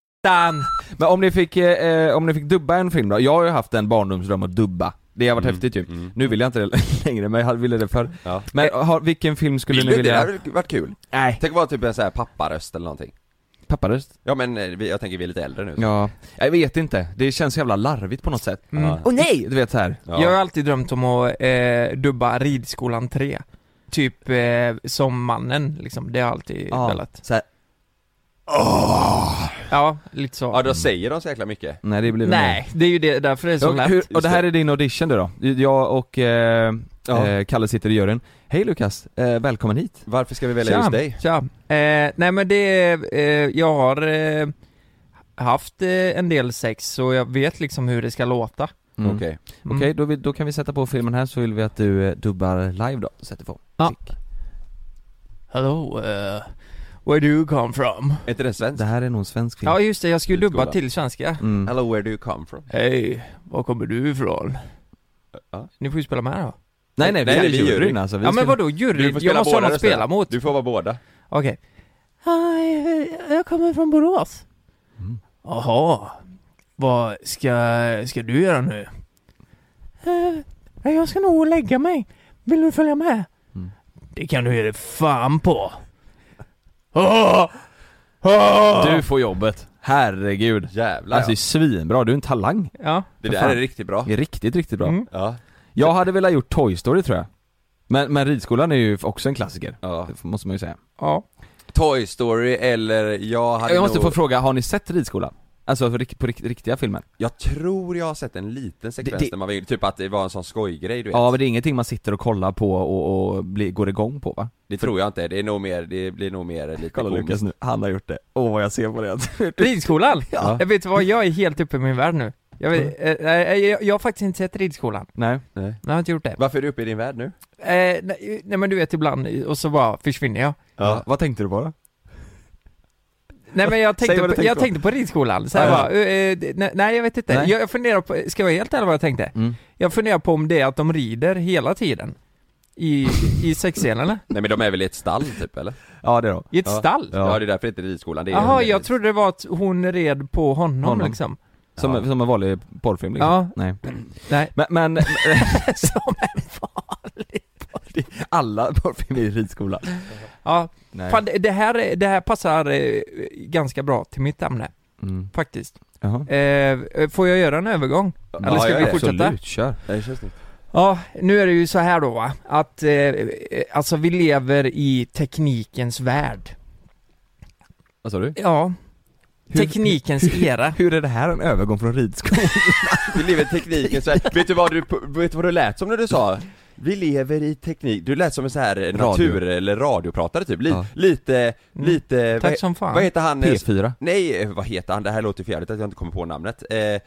Speaker 2: Men om ni fick, eh, eh, om ni fick dubba en film då? Jag har ju haft en barndomsdröm att dubba Det har
Speaker 1: Mm.
Speaker 2: varit häftigt ju. Nu vill jag inte det längre men jag ville det förr.
Speaker 1: Ja.
Speaker 2: Men eh, har, vilken film skulle
Speaker 1: Vill
Speaker 2: ni
Speaker 1: du inte? Det
Speaker 2: vilja?
Speaker 1: hade varit kul.
Speaker 2: Nej.
Speaker 1: Tänk att vara typ en sån här papparöst eller någonting.
Speaker 2: Papparöst?
Speaker 1: Ja men eh, vi, jag tänker vi är lite äldre nu.
Speaker 2: Ja. Jag vet inte, det känns så jävla larvigt på något sätt. Åh
Speaker 1: Ja.
Speaker 2: nej! Du vet så här.
Speaker 1: Ja.
Speaker 3: Jag har alltid drömt om att eh, dubba Ridskolan 3. Typ eh, som mannen, liksom. Det har jag alltid velat.
Speaker 2: Så här.
Speaker 3: Ja, lite så.
Speaker 1: Ja då säger de så jäkla mycket.
Speaker 2: Nej det blir väl mer.
Speaker 3: Nej, det är ju det, därför det är så
Speaker 2: Och,
Speaker 3: lätt.
Speaker 2: hur, och
Speaker 1: Just
Speaker 2: det här är din audition du då? Jag och eh,
Speaker 1: Ja.
Speaker 2: eh, Kalle sitter i juryn. Hej Lukas, eh, välkommen hit.
Speaker 1: Varför ska vi välja just dig?
Speaker 3: Tja. Eh, nej men det, eh, jag har eh, haft eh, en del sex så jag vet liksom hur det ska låta.
Speaker 2: Mm.
Speaker 1: Okej.
Speaker 2: Okej, då, vi- då kan vi sätta på filmen här så vill vi att du eh, dubbar live då, sätter på.
Speaker 3: Ja.
Speaker 2: Klick.
Speaker 3: Hello, uh, where do you come from?
Speaker 1: Är inte den svensk?
Speaker 2: Det här är nog en svensk film.
Speaker 3: Ja just det, jag skulle dubba
Speaker 1: Skola.
Speaker 3: till svenska.
Speaker 2: Mm.
Speaker 1: Hello where do you come from?
Speaker 3: Hej, var kommer du ifrån?
Speaker 1: Ja.
Speaker 3: Ni får ju spela med då.
Speaker 2: Nej nej, vi
Speaker 1: Nej,
Speaker 2: är
Speaker 1: vi är
Speaker 2: juryn
Speaker 1: jury.
Speaker 2: alltså. Vi
Speaker 3: Ja men
Speaker 2: skulle-
Speaker 3: vadå
Speaker 1: Du
Speaker 3: jury?
Speaker 1: får spela
Speaker 3: Jag måste ha
Speaker 1: båda
Speaker 3: någon att spela
Speaker 1: rösterna.
Speaker 3: mot.
Speaker 1: Du får vara båda.
Speaker 3: Okej. Hej, jag kommer från Borås. Mm. Jaha. Vad ska, ska du göra nu? Eh, jag ska nog lägga mig. Vill du följa med? Mm. Det kan du ge dig fan på.
Speaker 2: Du får jobbet. Herregud.
Speaker 1: Jävlar
Speaker 2: Alltså det är svinbra, du är en talang.
Speaker 3: Ja.
Speaker 1: ja. Det
Speaker 2: för
Speaker 1: där
Speaker 2: fan.
Speaker 1: är riktigt bra.
Speaker 2: Det är riktigt, riktigt bra.
Speaker 3: Mm.
Speaker 1: Ja.
Speaker 2: Jag hade velat gjort Toy Story tror jag. Men, men ridskolan är ju också en klassiker.
Speaker 1: Ja.
Speaker 2: Det måste man ju säga.
Speaker 3: Ja.
Speaker 1: Toy Story eller jag hade
Speaker 2: Jag måste
Speaker 1: nog...
Speaker 2: få fråga, har ni sett ridskolan? Alltså på, rikt- på rikt- riktiga filmer?
Speaker 1: Jag tror jag har sett en liten sekvens
Speaker 2: det-
Speaker 1: där man var yngre, typ att det var en sån skojgrej du vet
Speaker 2: Ja men det är ingenting man sitter och kollar på och, och blir, går igång på va?
Speaker 1: Det tror jag inte, det är nog mer, det blir nog mer lite komiskt.
Speaker 2: nu, han har gjort det. Åh vad jag ser på det.
Speaker 3: Ridskolan?
Speaker 2: Ja.
Speaker 3: Jag vet vad, jag är helt uppe i min värld nu. Jag, vet, eh, eh, jag, jag har faktiskt inte sett ridskolan.
Speaker 2: Nej.
Speaker 3: Jag har inte gjort det.
Speaker 1: Varför är du uppe i din värld nu?
Speaker 3: Eh, nej, nej men du vet ibland, och så bara försvinner jag.
Speaker 2: Ja. Vad tänkte du på då?
Speaker 3: Nej men jag
Speaker 2: Säg
Speaker 3: tänkte,
Speaker 2: vad du
Speaker 3: på,
Speaker 2: tänkte
Speaker 3: jag
Speaker 2: på.
Speaker 3: tänkte på ridskolan, så här
Speaker 2: Ja, ja.
Speaker 3: bara, eh, det- nej, nej jag vet inte.
Speaker 2: Nej.
Speaker 3: Jag, jag funderar på, ska jag vara helt ärlig vad jag tänkte?
Speaker 2: Mm.
Speaker 3: Jag funderar på om det är att de rider hela tiden. I, i sexscenerna?
Speaker 1: Nej men de är väl i ett stall typ eller?
Speaker 2: Ja det då.
Speaker 3: I ett stall?
Speaker 1: Ja, det är därför det inte är ridskolan, det är
Speaker 3: Jaha, jag trodde det var att hon red på honom,
Speaker 2: Honom.
Speaker 3: liksom.
Speaker 2: Som,
Speaker 1: Ja.
Speaker 2: som en vanlig porrfilm liksom.
Speaker 3: Ja.
Speaker 2: Nej.
Speaker 3: Nej.
Speaker 2: Men, men
Speaker 3: Som en vanlig.
Speaker 2: alla porrfilmer är ridskola.
Speaker 3: Ja,
Speaker 2: Nej.
Speaker 3: fan, det, det, här, är- det här passar eh, ganska bra till mitt ämne,
Speaker 2: Mm.
Speaker 3: faktiskt.
Speaker 2: Jaha.
Speaker 3: Eh, får jag göra en övergång? Eller
Speaker 1: Ja,
Speaker 3: ska
Speaker 1: gör
Speaker 3: vi
Speaker 1: det.
Speaker 3: fortsätta?
Speaker 2: Absolut, kör.
Speaker 3: Ja, nu är det ju så här då va, att eh, eh, alltså vi lever i teknikens värld.
Speaker 2: Vad sa du?
Speaker 3: Ja, teknikens era.
Speaker 2: Hur är det här en övergång från ridskola?
Speaker 1: Vi lever i tekniken så här. vet du vad du, vet du vad du lät som när du sa? Vi lever i teknik, du lät som en så här natur eller radiopratare typ, Li,
Speaker 2: Ja.
Speaker 1: lite, lite,
Speaker 3: Tack
Speaker 1: vad,
Speaker 3: som fan.
Speaker 1: vad heter han?
Speaker 2: P4.
Speaker 1: Nej, vad heter han? Det här låter ju fjärdigt att jag inte kommer på namnet. Eh, eh,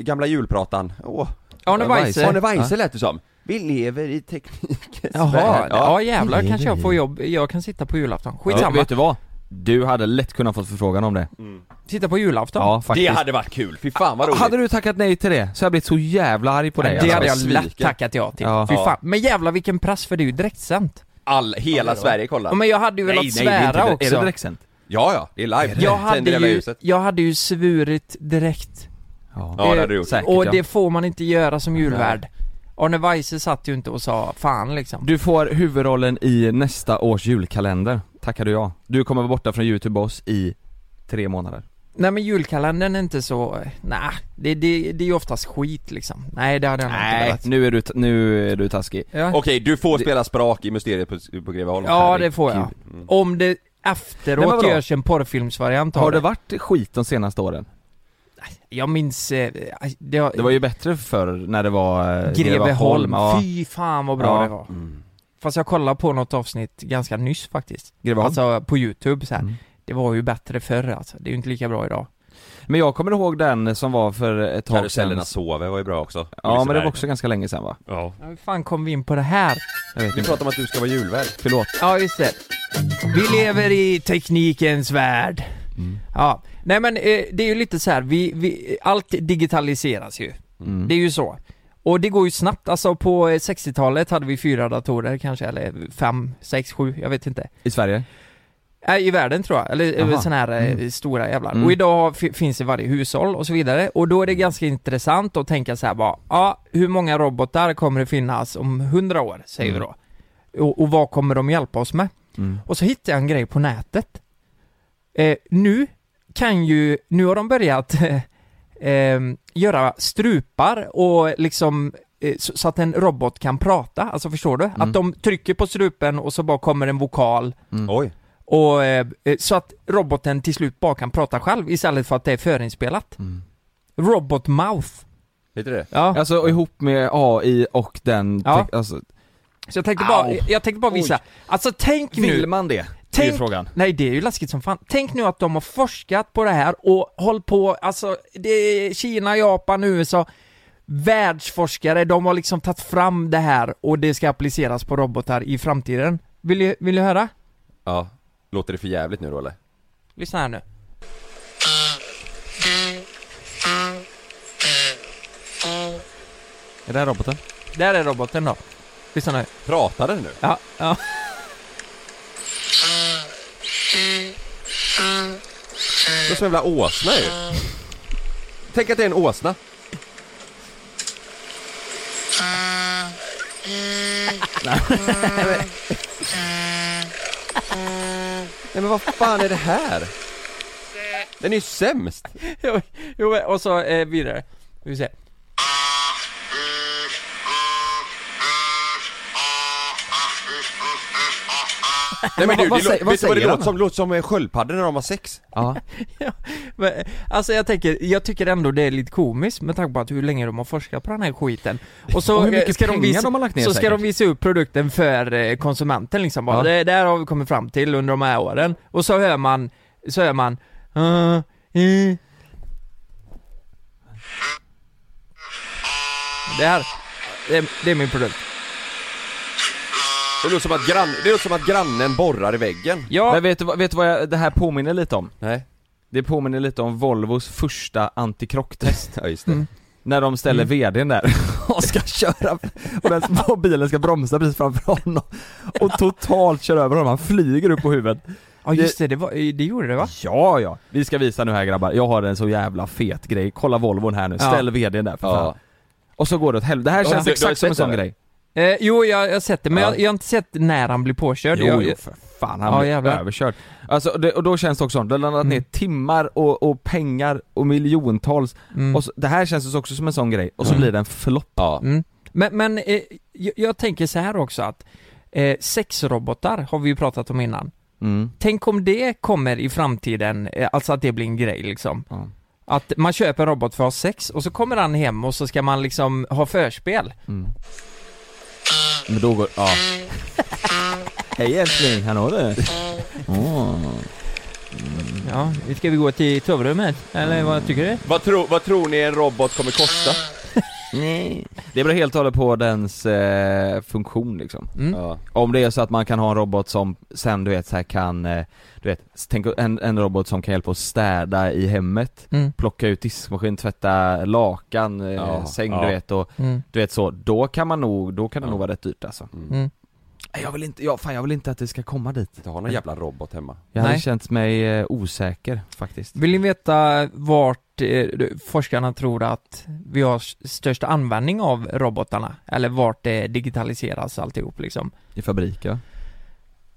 Speaker 1: gamla julpratan, åh,
Speaker 3: Arne Weise.
Speaker 1: Arne Weise lät det som. Vi lever i teknikens
Speaker 3: Jaha,
Speaker 1: värld.
Speaker 3: ja jävlar kanske jag får jobb, jag kan sitta på julafton. Skitsamma,
Speaker 2: Vet du vad? Du hade lätt kunnat få förfrågan om det.
Speaker 3: Mm. sitta på julafton.
Speaker 2: Ja, faktiskt.
Speaker 1: Det hade varit kul, fy fan vad roligt.
Speaker 2: Hade du tackat nej till det så hade jag blivit så jävla arg på dig
Speaker 3: det hade jag
Speaker 2: alltså.
Speaker 3: lätt
Speaker 1: sviken.
Speaker 3: tackat ja till.
Speaker 2: Ja.
Speaker 3: Fy fan. Men jävlar vilken press för det är ju direktsänt.
Speaker 1: All, hela Sverige kollar.
Speaker 3: Ja, men jag hade ju velat svära
Speaker 2: det är inte,
Speaker 3: också.
Speaker 2: Är det direktsänt?
Speaker 1: Ja, ja, det är live. Tänder
Speaker 3: jag, hade
Speaker 1: hela
Speaker 3: ju,
Speaker 1: huset.
Speaker 3: jag hade ju svurit direkt.
Speaker 1: Ja, det
Speaker 3: Eh,
Speaker 1: hade du gjort.
Speaker 2: Säkert,
Speaker 3: och
Speaker 2: ja.
Speaker 3: det får man inte göra som julvärd. Arne Weise satt ju inte och sa fan liksom.
Speaker 2: Du får huvudrollen i nästa års julkalender, tackar du ja. Du kommer vara borta från youtube oss i tre månader.
Speaker 3: Nej men julkalendern är inte så, nej, det, det, det är ju oftast skit liksom. Nej det hade jag nog inte velat.
Speaker 2: nu är du, t- nu är du taskig.
Speaker 3: Ja,
Speaker 1: Okej, du får spela sprak i Mysteriet på, på Greveholm.
Speaker 3: ja det får jag.
Speaker 1: Herregud. Mm.
Speaker 3: Om det
Speaker 2: Nej,
Speaker 3: efteråt
Speaker 2: men vadå?
Speaker 3: görs en porrfilmsvariant
Speaker 2: Har
Speaker 3: av
Speaker 2: det
Speaker 3: det.
Speaker 2: varit skit de senaste åren?
Speaker 3: Jag minns, eh, aj, det, har-
Speaker 2: Det var ju bättre förr när det var eh,
Speaker 3: Greveholm,
Speaker 2: ja.
Speaker 3: fy fan vad bra
Speaker 2: Ja. Mm.
Speaker 3: det var. Fast jag kollade på något avsnitt ganska nyss faktiskt.
Speaker 2: Greveholm.
Speaker 3: Alltså på youtube så här.
Speaker 2: Mm.
Speaker 3: Det var ju bättre förr alltså, det är ju inte lika bra idag.
Speaker 2: Men jag kommer ihåg den som var för ett tag sedan.
Speaker 1: Karusellerna sover var ju bra också.
Speaker 2: Ja men det
Speaker 1: Liseberg.
Speaker 2: var också ganska länge sedan va?
Speaker 1: Ja.
Speaker 3: Ja, Hur fan kom vi in på det här?
Speaker 2: Jag vet
Speaker 1: Vi
Speaker 2: inte.
Speaker 1: pratar om att du ska vara julvärd.
Speaker 2: Förlåt.
Speaker 3: Ja, just det. Vi lever i teknikens värld. Ja, nej men eh, det är ju lite så här, vi, vi, allt digitaliseras ju.
Speaker 2: Mm.
Speaker 3: Det är ju så. Och det går ju snabbt, alltså på eh, 60-talet hade vi fyra datorer kanske, eller fem, sex, sju, jag vet inte.
Speaker 2: I Sverige?
Speaker 3: Nej, I världen tror jag, eller
Speaker 2: Jaha.
Speaker 3: Aha. sån här eh, stora jävlar. Och idag fi- finns det i varje hushåll och så vidare. Och då är det ganska intressant att tänka så här bara, ja, hur många robotar kommer det finnas om hundra år, säger vi då. Och, och vad kommer de hjälpa oss med?
Speaker 2: Mm.
Speaker 3: Och så hittade jag en grej på nätet. Eh, nu kan ju, nu har de börjat eh, eh, göra strupar och liksom eh, så, så att en robot kan prata, alltså förstår du? Att de trycker på strupen och så bara kommer en vokal
Speaker 1: Oj.
Speaker 3: och, eh, eh, så att roboten till slut bara kan prata själv istället för att det är förinspelat. Robot mouth.
Speaker 1: Heter det
Speaker 3: Ja.
Speaker 2: Alltså ihop med AI och den...
Speaker 3: Ja.
Speaker 2: te- Alltså,
Speaker 3: Så jag tänkte bara,
Speaker 2: Au.
Speaker 3: jag tänkte bara visa. Alltså tänk nu.
Speaker 2: man det?
Speaker 3: Tänk,
Speaker 2: Det är frågan.
Speaker 3: Nej det är ju läskigt som fan. Tänk nu att de har forskat på det här och håll på, alltså det är Kina, Japan, USA. Världsforskare, de har liksom tagit fram det här och det ska appliceras på robotar i framtiden. Vill du, vill du höra?
Speaker 1: Ja. Låter det för jävligt nu då eller?
Speaker 3: Lyssna här nu.
Speaker 2: Är det här roboten?
Speaker 3: Där är roboten då. Lyssna nu.
Speaker 1: Pratar den nu?
Speaker 3: Ja, ja.
Speaker 1: Det är som en jävla åsna ju. Tänk att det är en åsna. Nej, men- Nej men vad fan är det här? Den är ju sämst!
Speaker 3: Jo, jo, och så eh, vidare. Vi får se.
Speaker 5: uh,
Speaker 1: Nej men
Speaker 9: vad-
Speaker 1: du,
Speaker 9: vad
Speaker 1: det, lå-
Speaker 9: säger- vad
Speaker 1: vet du vad det
Speaker 9: säger
Speaker 1: låter
Speaker 9: de?
Speaker 1: som? Det låter som eh, sköldpaddor när de har sex.
Speaker 9: Ja.
Speaker 3: Men, alltså jag tänker, jag tycker ändå det är lite komiskt med tanke på att hur länge de har forskat på den här skiten. Och så
Speaker 9: Och hur
Speaker 3: eh,
Speaker 9: mycket
Speaker 3: ska de
Speaker 9: pengar
Speaker 3: visa,
Speaker 9: de har lagt ner
Speaker 3: Så ska
Speaker 9: säkert.
Speaker 3: de visa upp produkten för eh, konsumenten liksom bara,
Speaker 9: Ja.
Speaker 3: det där har vi kommit fram till under de här åren. Och så hör man, så hör man, "Ah, eh." Det här, det är, det är min produkt.
Speaker 1: Det låter som att, grann, det låter som att grannen borrar i väggen.
Speaker 3: Ja,
Speaker 2: Men vet du, vad- vet du vad jag, det här påminner lite om?
Speaker 1: Nej.
Speaker 2: Det påminner lite om Volvos första antikrocktest
Speaker 1: Ja just det.
Speaker 2: När de ställer VDn där och ska köra, och, den, och bilen ska bromsa precis framför honom Och totalt kör över honom, han flyger upp på huvudet
Speaker 3: ja just det, det, var, eh, det gjorde det va?
Speaker 2: Ja ja, vi ska visa nu här grabbar, jag har en så jävla fet grej, kolla Volvon här nu,
Speaker 3: Ja.
Speaker 2: ställ VDn där för fan Och så går det åt helvete, det här
Speaker 1: Ja,
Speaker 2: känns
Speaker 1: du- du har
Speaker 2: exakt som en
Speaker 1: sett det
Speaker 2: sån
Speaker 1: där.
Speaker 2: grej
Speaker 3: Eh, jo, jag jag har sett det, men
Speaker 2: Ja.
Speaker 3: jag, jag har inte sett när han blir påkörd.
Speaker 2: Jo,
Speaker 3: jag,
Speaker 2: jo för fan, han
Speaker 3: Ja,
Speaker 2: blev
Speaker 3: jävlar.
Speaker 2: överkörd. Alltså, och det, och då känns det också som, det har landat ner
Speaker 3: Mm.
Speaker 2: timmar och, och pengar och miljontals,
Speaker 3: Mm.
Speaker 2: och så, det här känns också som en sån grej, och så blir det en flopp. Ja.
Speaker 3: Mm. Men, men eh, jag, jag tänker så här också att eh, sexrobotar har vi ju pratat om innan.
Speaker 2: Mm.
Speaker 3: Tänk om det kommer i framtiden, eh, alltså att det blir en grej liksom.
Speaker 2: Ja.
Speaker 3: Att man köper en robot för att ha sex och så kommer han hem och så ska man liksom ha förspel.
Speaker 2: Men då går, ja. Hej älskling, hallå du.
Speaker 3: Ja, ska vi gå till tovrummet? Eller vad tycker du?
Speaker 1: Vad, tro, vad tror ni en robot kommer kosta?
Speaker 2: Det beror helt och hållet på dens eh, funktion liksom.
Speaker 3: Mm.
Speaker 1: Ja.
Speaker 2: Om det är så att man kan ha en robot som sen du vet så här kan, eh, du vet, s- tänk en, en robot som kan hjälpa oss städa i hemmet,
Speaker 3: Mm.
Speaker 2: plocka ut diskmaskin, tvätta lakan, eh,
Speaker 1: Ja,
Speaker 2: säng
Speaker 1: ja.
Speaker 2: du vet och
Speaker 3: Mm.
Speaker 2: du vet så, då kan man nog, då kan det
Speaker 1: Ja.
Speaker 2: nog vara rätt dyrt alltså.
Speaker 3: Mm.
Speaker 2: Nej, Jag vill inte, ja, fan jag vill inte att det ska komma dit.
Speaker 1: Du har någon jävla robot hemma.
Speaker 2: Jag hade
Speaker 3: Nej.
Speaker 2: känt mig eh, osäker faktiskt.
Speaker 3: Vill ni veta vart eh, forskarna tror att vi har s- största användning av robotarna? Eller vart det digitaliseras alltihop liksom?
Speaker 2: I fabrik ja.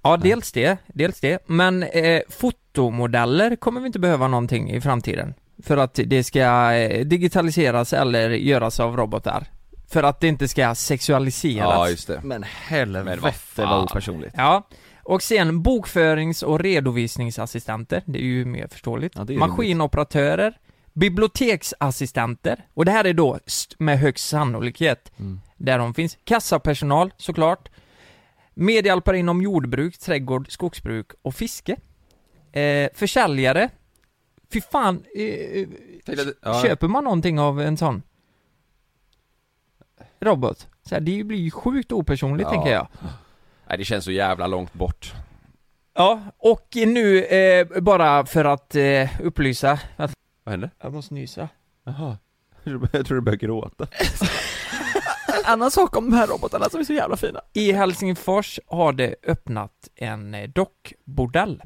Speaker 3: Ja, dels det, dels det. Men eh, fotomodeller kommer vi inte behöva någonting i framtiden. För att det ska eh, digitaliseras eller göras av robotar. För att det inte ska sexualiseras.
Speaker 1: Ja just det.
Speaker 2: Men helvete
Speaker 1: Men vad fan.
Speaker 2: vad opersonligt.
Speaker 3: Ja. Och sen bokförings och redovisningsassistenter, det är ju mer förståeligt.
Speaker 2: Ja, det är
Speaker 3: Maskinoperatörer, biblioteksassistenter, och det här är då st- med högst sannolikhet
Speaker 2: Mm.
Speaker 3: där de finns. Kassapersonal såklart, medhjälpare inom jordbruk, trädgård, skogsbruk och fiske. Eh, försäljare, fy fan, eh, eh,
Speaker 1: Tänkte att- ja.
Speaker 3: köper man någonting av en sån robot? Så här, det blir ju sjukt opersonligt
Speaker 1: Ja.
Speaker 3: tänker jag.
Speaker 1: Nej det känns så jävla långt bort.
Speaker 3: Ja, och nu eh, bara för att eh, upplysa att...
Speaker 1: Vad hände?
Speaker 3: Jag måste nysa.
Speaker 1: Jaha. Jag tror du började gråta.
Speaker 2: En annan sak om de här robotarna som är så jävla fina.
Speaker 3: I Helsingfors har det öppnat en eh, dockbordell.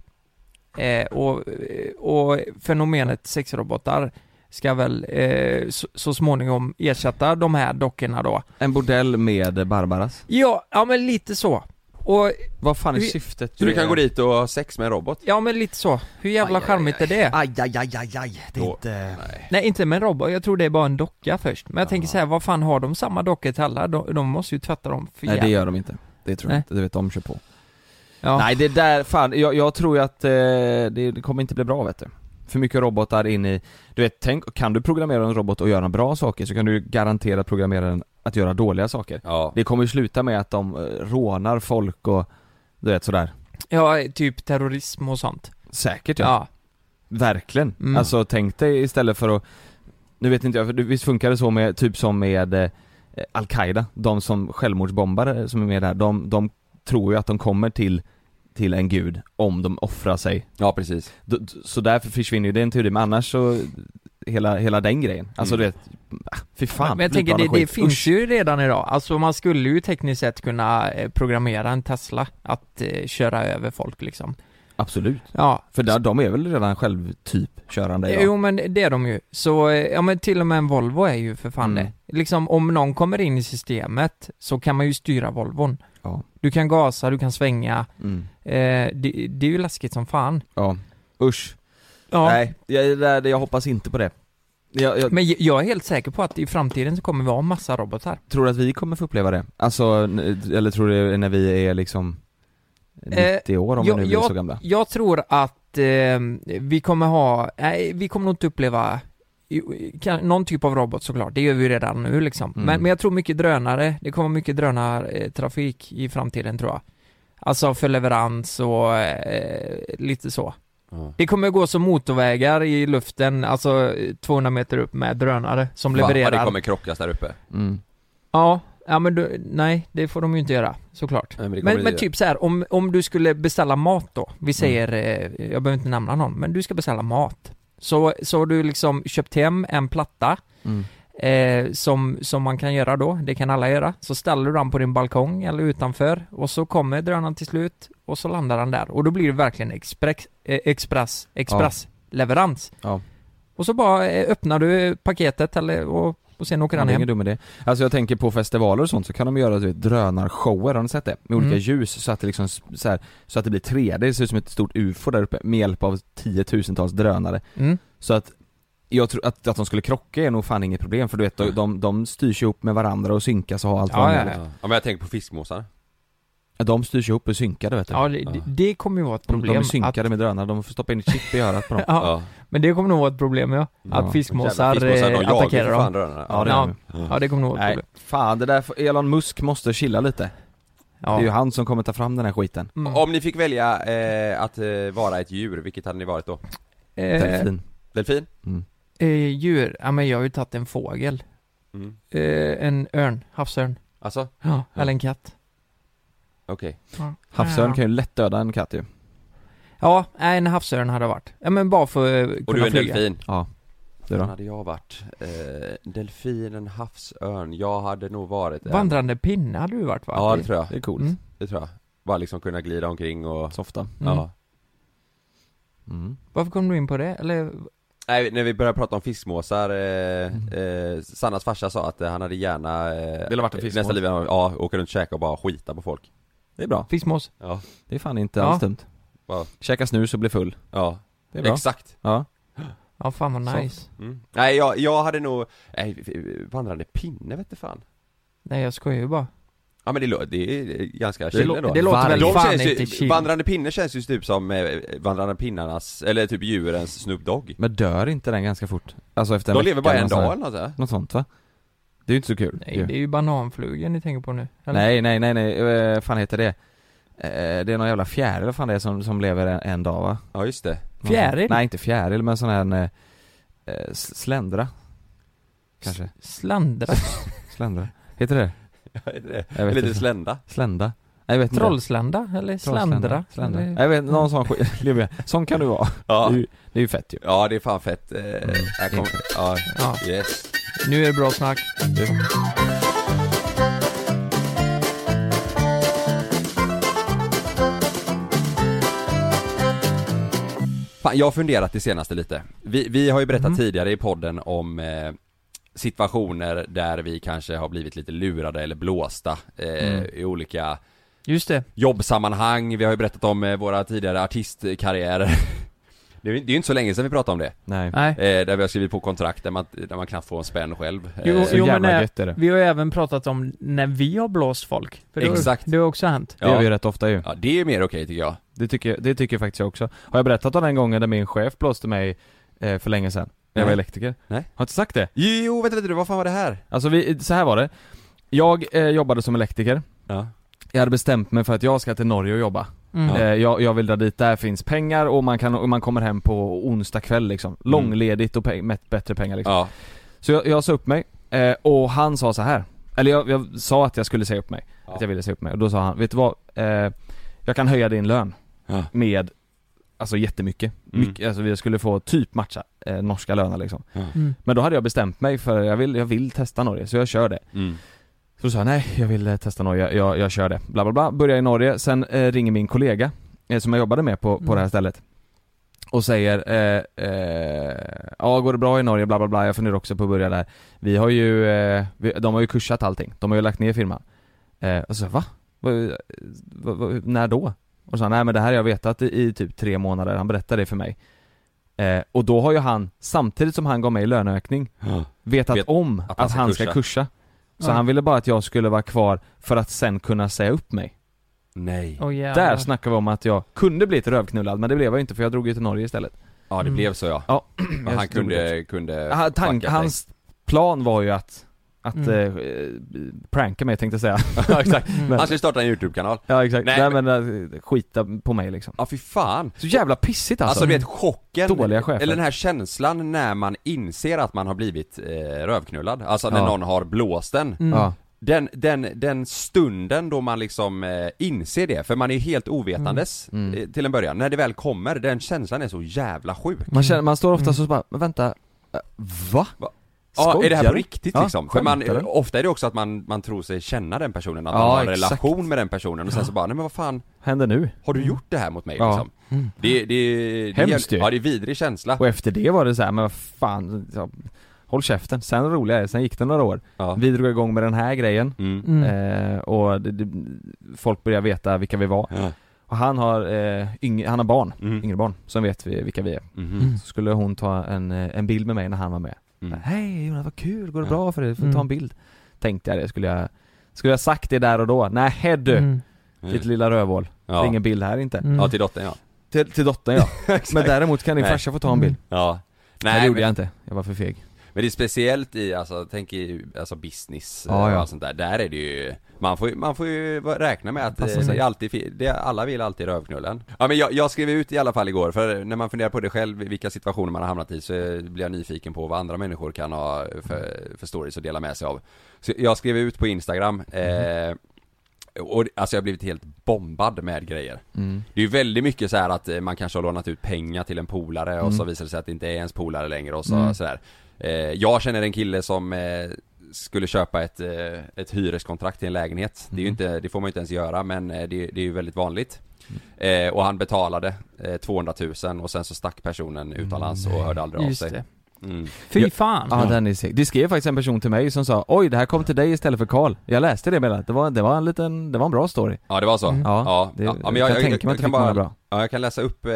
Speaker 3: Eh, och, eh, och fenomenet sexrobotar ska väl eh, så, så småningom ersätta de här dockorna då.
Speaker 2: En bordell med Barbaras.
Speaker 3: Ja, ja men lite så. Och,
Speaker 2: Vad fan är
Speaker 3: Vi-
Speaker 2: syftet?
Speaker 1: Så du kan gå dit och ha sex med en robot?
Speaker 3: ja men lite så. Hur jävla charmigt är det?
Speaker 9: Aj, aj, aj, aj, aj. Det är
Speaker 1: Då-
Speaker 9: inte...
Speaker 3: Nej inte med en robot, jag tror det är bara en docka först. Men jag tänker så här, vad fan har de samma dockor till alla? De, de måste ju tvätta dem för
Speaker 2: Nej det
Speaker 3: jävla-
Speaker 2: gör de inte. Det tror jag
Speaker 3: Nej.
Speaker 2: inte, du vet de kör på.
Speaker 3: ja.
Speaker 2: Nej det där, fan jag, jag tror ju att eh, det, det kommer inte bli bra vet du. För mycket robotar in i, du vet tänk, kan du programmera en robot och göra bra saker så kan du ju garanterat programmera den att göra dåliga saker.
Speaker 1: Ja.
Speaker 2: Det kommer ju sluta med att de eh, rånar folk och du vet sådär.
Speaker 3: Ja, typ terrorism och sånt.
Speaker 2: Säkert ja.
Speaker 3: Ja.
Speaker 2: Verkligen.
Speaker 3: Mm.
Speaker 2: Alltså tänk dig istället för att, nu vet inte jag, för du- visst funkar det så med, typ som med eh, Al-Qaida, de som självmordsbombare som är med där, de, de tror ju att de kommer till, till en gud om de offrar sig.
Speaker 1: Ja precis.
Speaker 2: D- d- Så därför försvinner ju den teorin, men annars så, hela, hela den grejen. Alltså du vet, ah, fy fan.
Speaker 3: Mm. Men jag tänker, det,
Speaker 2: flygplan och
Speaker 3: det
Speaker 2: skit.
Speaker 3: finns
Speaker 2: Usch.
Speaker 3: ju redan idag. Alltså man skulle ju tekniskt sett kunna eh, programmera en Tesla att eh, köra över folk liksom.
Speaker 2: Absolut.
Speaker 3: Ja.
Speaker 2: För där, de är väl redan självtypkörande idag?
Speaker 3: eh, Jo men det är de ju. Så, eh, ja men till och med en Volvo är ju för fan
Speaker 2: Mm.
Speaker 3: det. Liksom om någon kommer in i systemet så kan man ju styra Volvon.
Speaker 2: Ja.
Speaker 3: Du kan gasa, du kan svänga.
Speaker 2: Mm.
Speaker 3: Eh, det, det är ju läskigt som fan.
Speaker 2: Ja. Usch.
Speaker 3: Ja.
Speaker 2: Nej, jag, det där- det- jag hoppas inte på det. Jag, jag,
Speaker 3: Men jag är helt säker på att i framtiden så kommer vi ha massa robotar.
Speaker 2: Tror du att vi kommer få uppleva det? Alltså, n- eller tror du det är när vi är liksom 90 år om vi
Speaker 3: jag,
Speaker 2: nu blir
Speaker 3: jag,
Speaker 2: så gamla.
Speaker 3: jag tror att eh, vi kommer ha, nej vi kommer nog inte uppleva ju- kan- någon typ av robot såklart, det gör vi ju redan nu liksom.
Speaker 2: Mm.
Speaker 3: Men, men jag tror mycket drönare, det kommer mycket drönartrafik i framtiden tror jag. Alltså för leverans och eh, lite så.
Speaker 1: Ja.
Speaker 3: Det kommer gå som motorvägar i luften, alltså eh, 200 meter upp med drönare som levererar.
Speaker 1: Fan, det kommer krockas där uppe.
Speaker 2: Mm.
Speaker 3: Ja, ja men du, nej det får de ju inte göra såklart.
Speaker 1: Nej, men det kommer
Speaker 3: Men,
Speaker 1: det
Speaker 3: men
Speaker 1: göra.
Speaker 3: typ så här, om, om du skulle beställa mat då,
Speaker 2: Mm.
Speaker 3: vi säger, eh, jag behöver inte nämna någon, men du ska beställa mat. Så, så har du liksom köpt hem en platta
Speaker 2: Mm.
Speaker 3: eh, som, som man kan göra då, det kan alla göra. Så ställer du den på din balkong eller utanför och så kommer drönaren till slut och så landar den där. Och då blir det verkligen express, eh, express, express leverans.
Speaker 2: Ja.
Speaker 3: Och så bara eh, öppnar du paketet eller, och, och sen åker
Speaker 2: Ja,
Speaker 3: den
Speaker 2: det är
Speaker 3: hem.
Speaker 2: ingen dum idé. Alltså jag tänker på festivaler och sånt så kan de göra du vet, drönarshower, har ni sett det? Med olika
Speaker 3: Mm.
Speaker 2: ljus så att det liksom s- så, här, så att det blir 3D, det ser ut som ett stort UFO där uppe med hjälp av tiotusentals drönare.
Speaker 3: Mm.
Speaker 2: Så att jag tror att, att de skulle krocka är nog fan inget problem för du vet de, de, de styrs ihop med varandra och synkas och har allt
Speaker 3: Ja,
Speaker 2: vad de
Speaker 3: ja,
Speaker 2: vill.
Speaker 1: Ja. men jag tänker på fiskmåsar.
Speaker 2: De styrs ihop och synkade vet du.
Speaker 3: Ja, det, det- det kommer ju vara ett
Speaker 2: de,
Speaker 3: problem.
Speaker 2: de är
Speaker 3: att,
Speaker 2: synkade med drönare, de får stoppa in ett chip i örat på dem.
Speaker 3: ja, Men det kommer nog vara ett problem ja. Att
Speaker 2: Ja.
Speaker 3: fiskmåsar,
Speaker 1: Jävla fiskmåsar,
Speaker 3: eh,
Speaker 1: de jagar
Speaker 3: attackerar
Speaker 1: för fan
Speaker 3: dem.
Speaker 1: drönarna.
Speaker 2: Ja, det gör
Speaker 3: ja.
Speaker 2: de.
Speaker 3: ja, det kommer nog vara ett
Speaker 2: Nej,
Speaker 3: problem.
Speaker 2: fan det där, får- Elon Musk måste chilla lite. Det är ju
Speaker 3: Ja.
Speaker 2: han som kommer ta fram den här skiten.
Speaker 3: Mm.
Speaker 1: Om ni fick välja eh, att eh, vara ett djur, vilket hade ni varit då?
Speaker 3: Eh,
Speaker 2: Delfin.
Speaker 1: Delfin?
Speaker 3: eh, djur, ja men jag har ju tagit en fågel.
Speaker 1: Mm.
Speaker 3: Eh, en örn, havsörn.
Speaker 1: Alltså?
Speaker 3: Ja, eller en katt.
Speaker 1: Okej.
Speaker 3: Ja.
Speaker 2: Havsörn
Speaker 3: Ja.
Speaker 2: kan ju lätt döda en katt ju.
Speaker 3: Ja, nej, en havsörn hade varit. Ja men bara för att
Speaker 1: Och
Speaker 3: kunna
Speaker 1: du är en
Speaker 3: flyga.
Speaker 1: delfin?
Speaker 2: Du
Speaker 1: Vad
Speaker 2: då?
Speaker 1: hade jag varit? Eh, delfin, en havsörn. Jag hade nog varit en...
Speaker 3: Vandrande pinne hade du varit va?
Speaker 1: Ja, det tror jag.
Speaker 2: Det är coolt.
Speaker 3: Mm.
Speaker 1: Det tror jag. Bara liksom kunna glida omkring och...
Speaker 2: Softa.
Speaker 3: Mm.
Speaker 1: Ja.
Speaker 2: Mm.
Speaker 3: Varför kom du in på det? Eller?
Speaker 1: Nej, när vi började prata om fiskmåsar, eh,
Speaker 3: Mm.
Speaker 1: eh, Sannas farsa sa att eh, han hade gärna... Eh,
Speaker 2: Vill ha varit en fiskmås.
Speaker 1: Nästa liv, ja, åka runt och käka och bara skita på folk.
Speaker 2: Det är bra.
Speaker 3: Fiskmås?
Speaker 1: Ja.
Speaker 2: Det är fan inte
Speaker 3: Ja.
Speaker 2: alls dumt.
Speaker 1: Wow.
Speaker 2: Käka snus och bli full.
Speaker 1: Ja.
Speaker 2: Det är bra.
Speaker 1: Exakt.
Speaker 2: ja.
Speaker 3: Ja fan vad
Speaker 2: Så.
Speaker 3: nice.
Speaker 1: Mm. Nej, jag, jag hade nog... Nej, vandrande pinne vet du fan.
Speaker 3: Nej jag skojar ju bara.
Speaker 1: Ja men det, lå- det är ganska chill
Speaker 3: lå-
Speaker 1: ändå.
Speaker 3: det låter
Speaker 1: Varg.
Speaker 3: väl
Speaker 1: De
Speaker 3: fan
Speaker 1: känns ju,
Speaker 3: inte chill.
Speaker 1: Vandrande pinne känns ju typ som eh, vandrande pinnarnas, eller typ djurens Snoop Dogg.
Speaker 2: Men dör inte den ganska fort? Alltså efter en
Speaker 1: De
Speaker 2: vecka
Speaker 1: lever bara
Speaker 2: eller
Speaker 1: en
Speaker 2: något
Speaker 1: dag
Speaker 2: sånt där.
Speaker 1: eller nåt sånt där.
Speaker 2: Något sånt va? Det är ju inte så kul.
Speaker 3: Nej
Speaker 2: ju.
Speaker 3: det är ju bananflugen ni tänker på nu. Eller?
Speaker 2: nej, nej, nej, nej. Eh, fan heter det? Eh, det är någon jävla fjäril vad fan det är som, som lever en, en dag va?
Speaker 1: Ja just det.
Speaker 2: Någon
Speaker 3: Fjäril?
Speaker 2: sån- Nej inte fjäril men sån här eh, eh, s- sländra. Kanske.
Speaker 3: Slandra?
Speaker 2: Sländra. Heter det Jag vet
Speaker 1: Lite
Speaker 2: inte.
Speaker 1: slända.
Speaker 2: Slända? Nej jag vet inte.
Speaker 3: Trollslända? Eller sländra?
Speaker 2: Sländra.
Speaker 3: Eller-
Speaker 2: Nej, Jag vet, någon sån skit. lever jag. Sån kan du vara.
Speaker 1: Ja.
Speaker 2: Det, är ju, det är ju fett ju.
Speaker 1: ja, det är fan fett. Eh, här kommer, ja,
Speaker 3: Ja,
Speaker 1: yes.
Speaker 3: nu är det bra snack.
Speaker 1: Fan, jag har funderat det senaste lite. Vi, vi har ju berättat tidigare i podden om eh, situationer där vi kanske har blivit lite lurade eller blåsta eh, i olika
Speaker 3: Just det.
Speaker 1: jobbsammanhang, vi har ju berättat om eh, våra tidigare artistkarriärer. Det är ju det är ju inte så länge sedan vi pratade om det.
Speaker 2: Nej.
Speaker 3: Nej.
Speaker 1: Eh, där vi har skrivit på kontrakt där man, där man knappt får en spänn själv. Eh,
Speaker 3: Jo,
Speaker 2: Så
Speaker 3: jo men
Speaker 2: jävla
Speaker 3: eh,
Speaker 2: gött är det.
Speaker 3: vi har ju även pratat om när vi har blåst folk. För det har-
Speaker 1: Exakt.
Speaker 3: Det har också hänt.
Speaker 2: Det gör vi ju
Speaker 1: ja.
Speaker 2: rätt ofta ju.
Speaker 1: ja, det är mer okej tycker jag.
Speaker 2: Det tycker, det tycker faktiskt jag också. Har jag berättat om den gången där min chef blåste mig eh, för länge sedan? När jag var
Speaker 1: Nej.
Speaker 2: elektriker?
Speaker 1: Nej.
Speaker 2: Har jag inte sagt det?
Speaker 1: Jo, vänta, vänta, du, vad fan var det här?
Speaker 2: Alltså vi, så här var det. Jag eh, jobbade som elektriker.
Speaker 1: Ja.
Speaker 2: Jag hade bestämt mig för att jag ska till Norge och jobba.
Speaker 3: Mm.
Speaker 2: Eh, jag, jag vill dra dit, där finns pengar och man, kan, och man kommer hem på onsdag kväll liksom. Långledigt och pe- med bättre pengar liksom.
Speaker 1: Mm. Ja.
Speaker 2: Så jag, jag sa upp mig, eh, och han sa så här. Eller jag, jag sa att jag skulle säga upp mig.
Speaker 1: Ja.
Speaker 2: Att jag ville säga upp mig. Och då sa han, vet du vad? Eh, jag kan höja din lön.
Speaker 1: Ja.
Speaker 2: Med, alltså jättemycket.
Speaker 1: Mm.
Speaker 2: Mycket, alltså vi skulle få typ matcha eh, norska löner liksom.
Speaker 1: Ja.
Speaker 3: Mm.
Speaker 2: Men då hade jag bestämt mig för jag vill, jag vill testa Norge, så jag kör det.
Speaker 1: Mm.
Speaker 2: Så då sa jag, nej jag vill eh, testa Norge, jag, jag, jag kör det. Bla bla bla, börjar i Norge, sen eh, ringer min kollega eh, som jag jobbade med på, på
Speaker 3: Mm.
Speaker 2: det här stället och säger eh, eh, ja går det bra i Norge bla bla bla, jag funderar också på att börja där. Vi har ju, eh, vi, de har ju kursat allting, de har ju lagt ner firman. Eh, och så sa jag, va? Vad- vad- vad- när då? Och så sa han, nej men det här har jag vetat i, i typ tre månader, han berättade det för mig. Eh, och då har ju han, samtidigt som han gav mig löneökning,
Speaker 1: Ja.
Speaker 2: vetat
Speaker 1: Vet
Speaker 2: om
Speaker 1: att
Speaker 2: att,
Speaker 1: han
Speaker 2: han
Speaker 1: ska
Speaker 2: ska,
Speaker 1: kursa.
Speaker 2: kursa. Så
Speaker 3: Ja.
Speaker 2: han ville bara att jag skulle vara kvar för att sen kunna säga upp mig.
Speaker 1: Nej.
Speaker 3: Oh, jävlar.
Speaker 2: Där snackar vi om att jag kunde bli ett rövknullad men det blev jag ju inte för jag drog ju till Norge istället.
Speaker 1: Ja det blev så ja.
Speaker 2: Ja,
Speaker 1: Men
Speaker 2: jag
Speaker 1: han
Speaker 2: drog dit.
Speaker 1: kunde, kunde
Speaker 2: Han-
Speaker 1: fucka
Speaker 2: tank,
Speaker 1: sig.
Speaker 2: hans plan var ju att, att
Speaker 3: Mm.
Speaker 2: eh, eh, pranka mig tänkte jag säga.
Speaker 1: Ja, exakt.
Speaker 3: Mm.
Speaker 1: Han skulle starta en YouTube-kanal.
Speaker 2: Ja exakt,
Speaker 1: Nej,
Speaker 2: nej, men eh, skita på mig liksom.
Speaker 1: Ja fy fan.
Speaker 2: Så jävla pissigt alltså.
Speaker 1: Alltså du vet chocken,
Speaker 2: Dåliga chefer.
Speaker 1: eller den här känslan när man inser att man har blivit eh, rövknullad, alltså när
Speaker 2: Ja.
Speaker 1: någon har blåst den.
Speaker 3: Mm.
Speaker 2: Ja.
Speaker 1: Den, den, den stunden då man liksom eh, inser det, för man är ju helt ovetandes
Speaker 2: Mm. Mm.
Speaker 1: eh, till en början, när det väl kommer, den känslan är så jävla sjuk.
Speaker 2: Man, känner, man står ofta
Speaker 3: Mm.
Speaker 2: så bara, men vänta, eh, va?
Speaker 1: Va? Ja, är det här
Speaker 2: Skojar
Speaker 1: på
Speaker 2: du?
Speaker 1: riktigt
Speaker 2: Ja,
Speaker 1: liksom? För man,
Speaker 2: skämtar du?
Speaker 1: ofta är det också att man, man tror sig känna den personen, att
Speaker 2: Ja,
Speaker 1: man har en
Speaker 2: exakt.
Speaker 1: relation med den personen och sen så bara, nej men vad fan,
Speaker 2: Händer nu?
Speaker 1: har du gjort det här mot mig
Speaker 2: Ja. Mm.
Speaker 1: liksom? Det, det, det,
Speaker 2: Hemskt
Speaker 1: det,
Speaker 2: ju.
Speaker 1: ja, det är vidrig känsla.
Speaker 2: Och efter det var det så här, men vad fan, ja, håll käften. Sen roliga är, sen gick det några år.
Speaker 1: Ja.
Speaker 2: Vi drog igång med den här grejen
Speaker 1: Mm.
Speaker 3: Mm.
Speaker 2: eh, och det, det, folk började veta vilka vi var.
Speaker 1: Ja.
Speaker 2: Och han har, eh, yng, han har barn,
Speaker 1: Mm.
Speaker 2: yngre barn, som vet vi vilka vi är.
Speaker 1: Mhm.
Speaker 2: Så skulle hon ta en, eh, en bild med mig när han var med.
Speaker 1: Mm.
Speaker 2: Hej Jonas, vad kul, går det
Speaker 1: Ja.
Speaker 2: bra för dig? Får
Speaker 3: Mm.
Speaker 2: ta en bild? Tänkte jag det, skulle jag skulle jag sagt det där och då? Nej du,
Speaker 3: Mm.
Speaker 2: ditt lilla rövhål. Det är
Speaker 1: Ja.
Speaker 2: ingen bild här inte.
Speaker 3: Mm.
Speaker 1: ja, till dottern ja.
Speaker 2: Till, till dottern ja. men däremot kan din
Speaker 1: Nej.
Speaker 2: farsa få ta en bild.
Speaker 3: Mm.
Speaker 1: Ja.
Speaker 2: Nej, det
Speaker 1: Nej,
Speaker 2: gjorde
Speaker 1: men,
Speaker 2: jag inte. Jag var för feg.
Speaker 1: men det är speciellt i, alltså, tänk i, alltså business
Speaker 2: Ja,
Speaker 1: eh, och
Speaker 2: ja.
Speaker 1: allt sånt där. Där är det ju, man får, ju- man får ju va- räkna med att eh,
Speaker 2: Passa
Speaker 1: det
Speaker 2: sig.
Speaker 1: är alltid, fi- det, alla vill alltid rövknullen. Ja men jag, jag skrev ut i alla fall igår, för när man funderar på det själv, vilka situationer man har hamnat i, så eh, blir jag nyfiken på vad andra människor kan ha för, för stories att dela med sig av. Så jag skrev ut på Instagram,
Speaker 2: Mhm.
Speaker 1: eh, och alltså jag har blivit helt bombad med grejer.
Speaker 2: Mm.
Speaker 1: Det är ju väldigt mycket så här att eh, man kanske har lånat ut pengar till en polare och
Speaker 2: Mm.
Speaker 1: så visar det sig att det inte är ens polare längre och så, sådär. Eh, jag känner en kille som eh, skulle köpa ett, eh, ett hyreskontrakt till en lägenhet. Det, är ju
Speaker 2: Mm.
Speaker 1: inte, det får man ju inte ens göra men eh, det, det är ju väldigt vanligt.
Speaker 2: Mm.
Speaker 1: Eh, och han betalade eh, 200 000 och sen så stack personen utomlands och hörde aldrig av
Speaker 3: Just
Speaker 1: sig.
Speaker 3: det.
Speaker 1: Mm.
Speaker 3: Fy fan.
Speaker 2: Ja, den är seg. Det skrev faktiskt en person till mig som sa Oj, det här kom till dig istället för Karl. Jag läste det med det var, det var en liten, det var en bra story.
Speaker 1: Ja det var så. Ja, ja,
Speaker 2: Mm. det,
Speaker 1: men jag, jag, jag,
Speaker 2: kan tänka mig att det
Speaker 1: kan
Speaker 2: fick många
Speaker 1: bara,
Speaker 2: bra.
Speaker 1: ja, jag kan läsa upp, eh,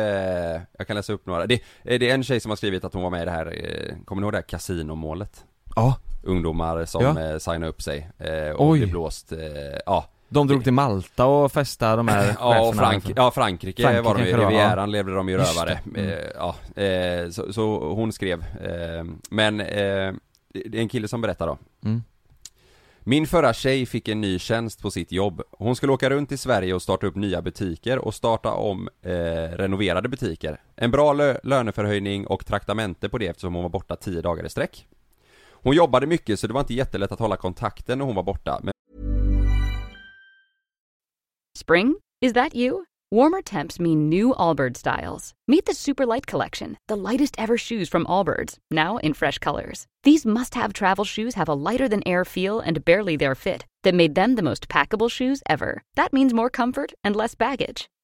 Speaker 1: jag kan läsa upp några. Det, eh, det är en tjej som har skrivit att hon var med i det här, eh, kommer ni ihåg det här kasinomålet?
Speaker 2: Ja,
Speaker 1: ungdomar som
Speaker 2: Ja.
Speaker 1: eh, signade upp sig eh, och
Speaker 2: Oj.
Speaker 1: blev blåst, eh, ja.
Speaker 2: de drog till Malta och festade de här
Speaker 1: Ja, och
Speaker 2: cheferna. liksom.
Speaker 1: Frank- ja, Frankrike,
Speaker 2: Frankrike
Speaker 1: var de ju,
Speaker 2: kanske det var,
Speaker 1: Rivieran levde de ju
Speaker 2: Just
Speaker 1: rövare.
Speaker 2: det, mm.
Speaker 1: Eh, ja, eh, så, så hon skrev, eh, men eh, det är en kille som berättar då.
Speaker 2: Mm.
Speaker 1: Min förra tjej fick en ny tjänst på sitt jobb. Hon skulle åka runt i Sverige och starta upp nya butiker och starta om eh, renoverade butiker. En bra lö- löneförhöjning och traktamente på det eftersom hon var borta 10 dagar i sträck. Hon jobbade mycket så det var inte jättelätt att hålla kontakten när hon var borta, men
Speaker 9: Spring? Is that you? Warmer temps mean new Allbirds styles. Meet the Super Light Collection, the lightest ever shoes from Allbirds, now in fresh colors. These must have travel shoes have a lighter than air feel and barely their fit that made them the most packable shoes ever. That means more comfort and less baggage.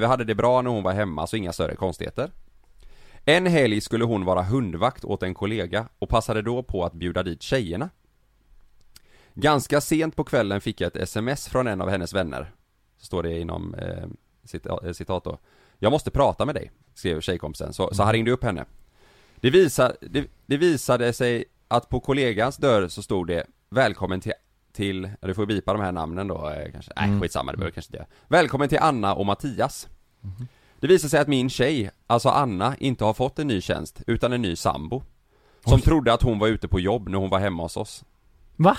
Speaker 1: Vi hade det bra när hon var hemma så inga större konstigheter. En helg skulle hon vara hundvakt åt en kollega och passade då på att bjuda dit tjejerna. Ganska sent på kvällen fick jag ett sms från en av hennes vänner. Så står det inom eh, cita- eh, citat då. Jag måste prata med dig, skrev tjejkompisen. Så, så han ringde upp henne. Det, visa, det, det visade sig att på kollegans dörr så stod det Välkommen till, till ja, du får bipa de här namnen då eh, kanske. Nej
Speaker 2: Mm.
Speaker 1: skitsamma, det behöver jag kanske inte göra. Välkommen till Anna och Mattias.
Speaker 2: Mm-hmm.
Speaker 1: Det visade sig att min tjej, alltså Anna, inte har fått en ny tjänst utan en ny sambo. Som trodde att hon var ute på jobb när hon var hemma hos oss.
Speaker 3: Va?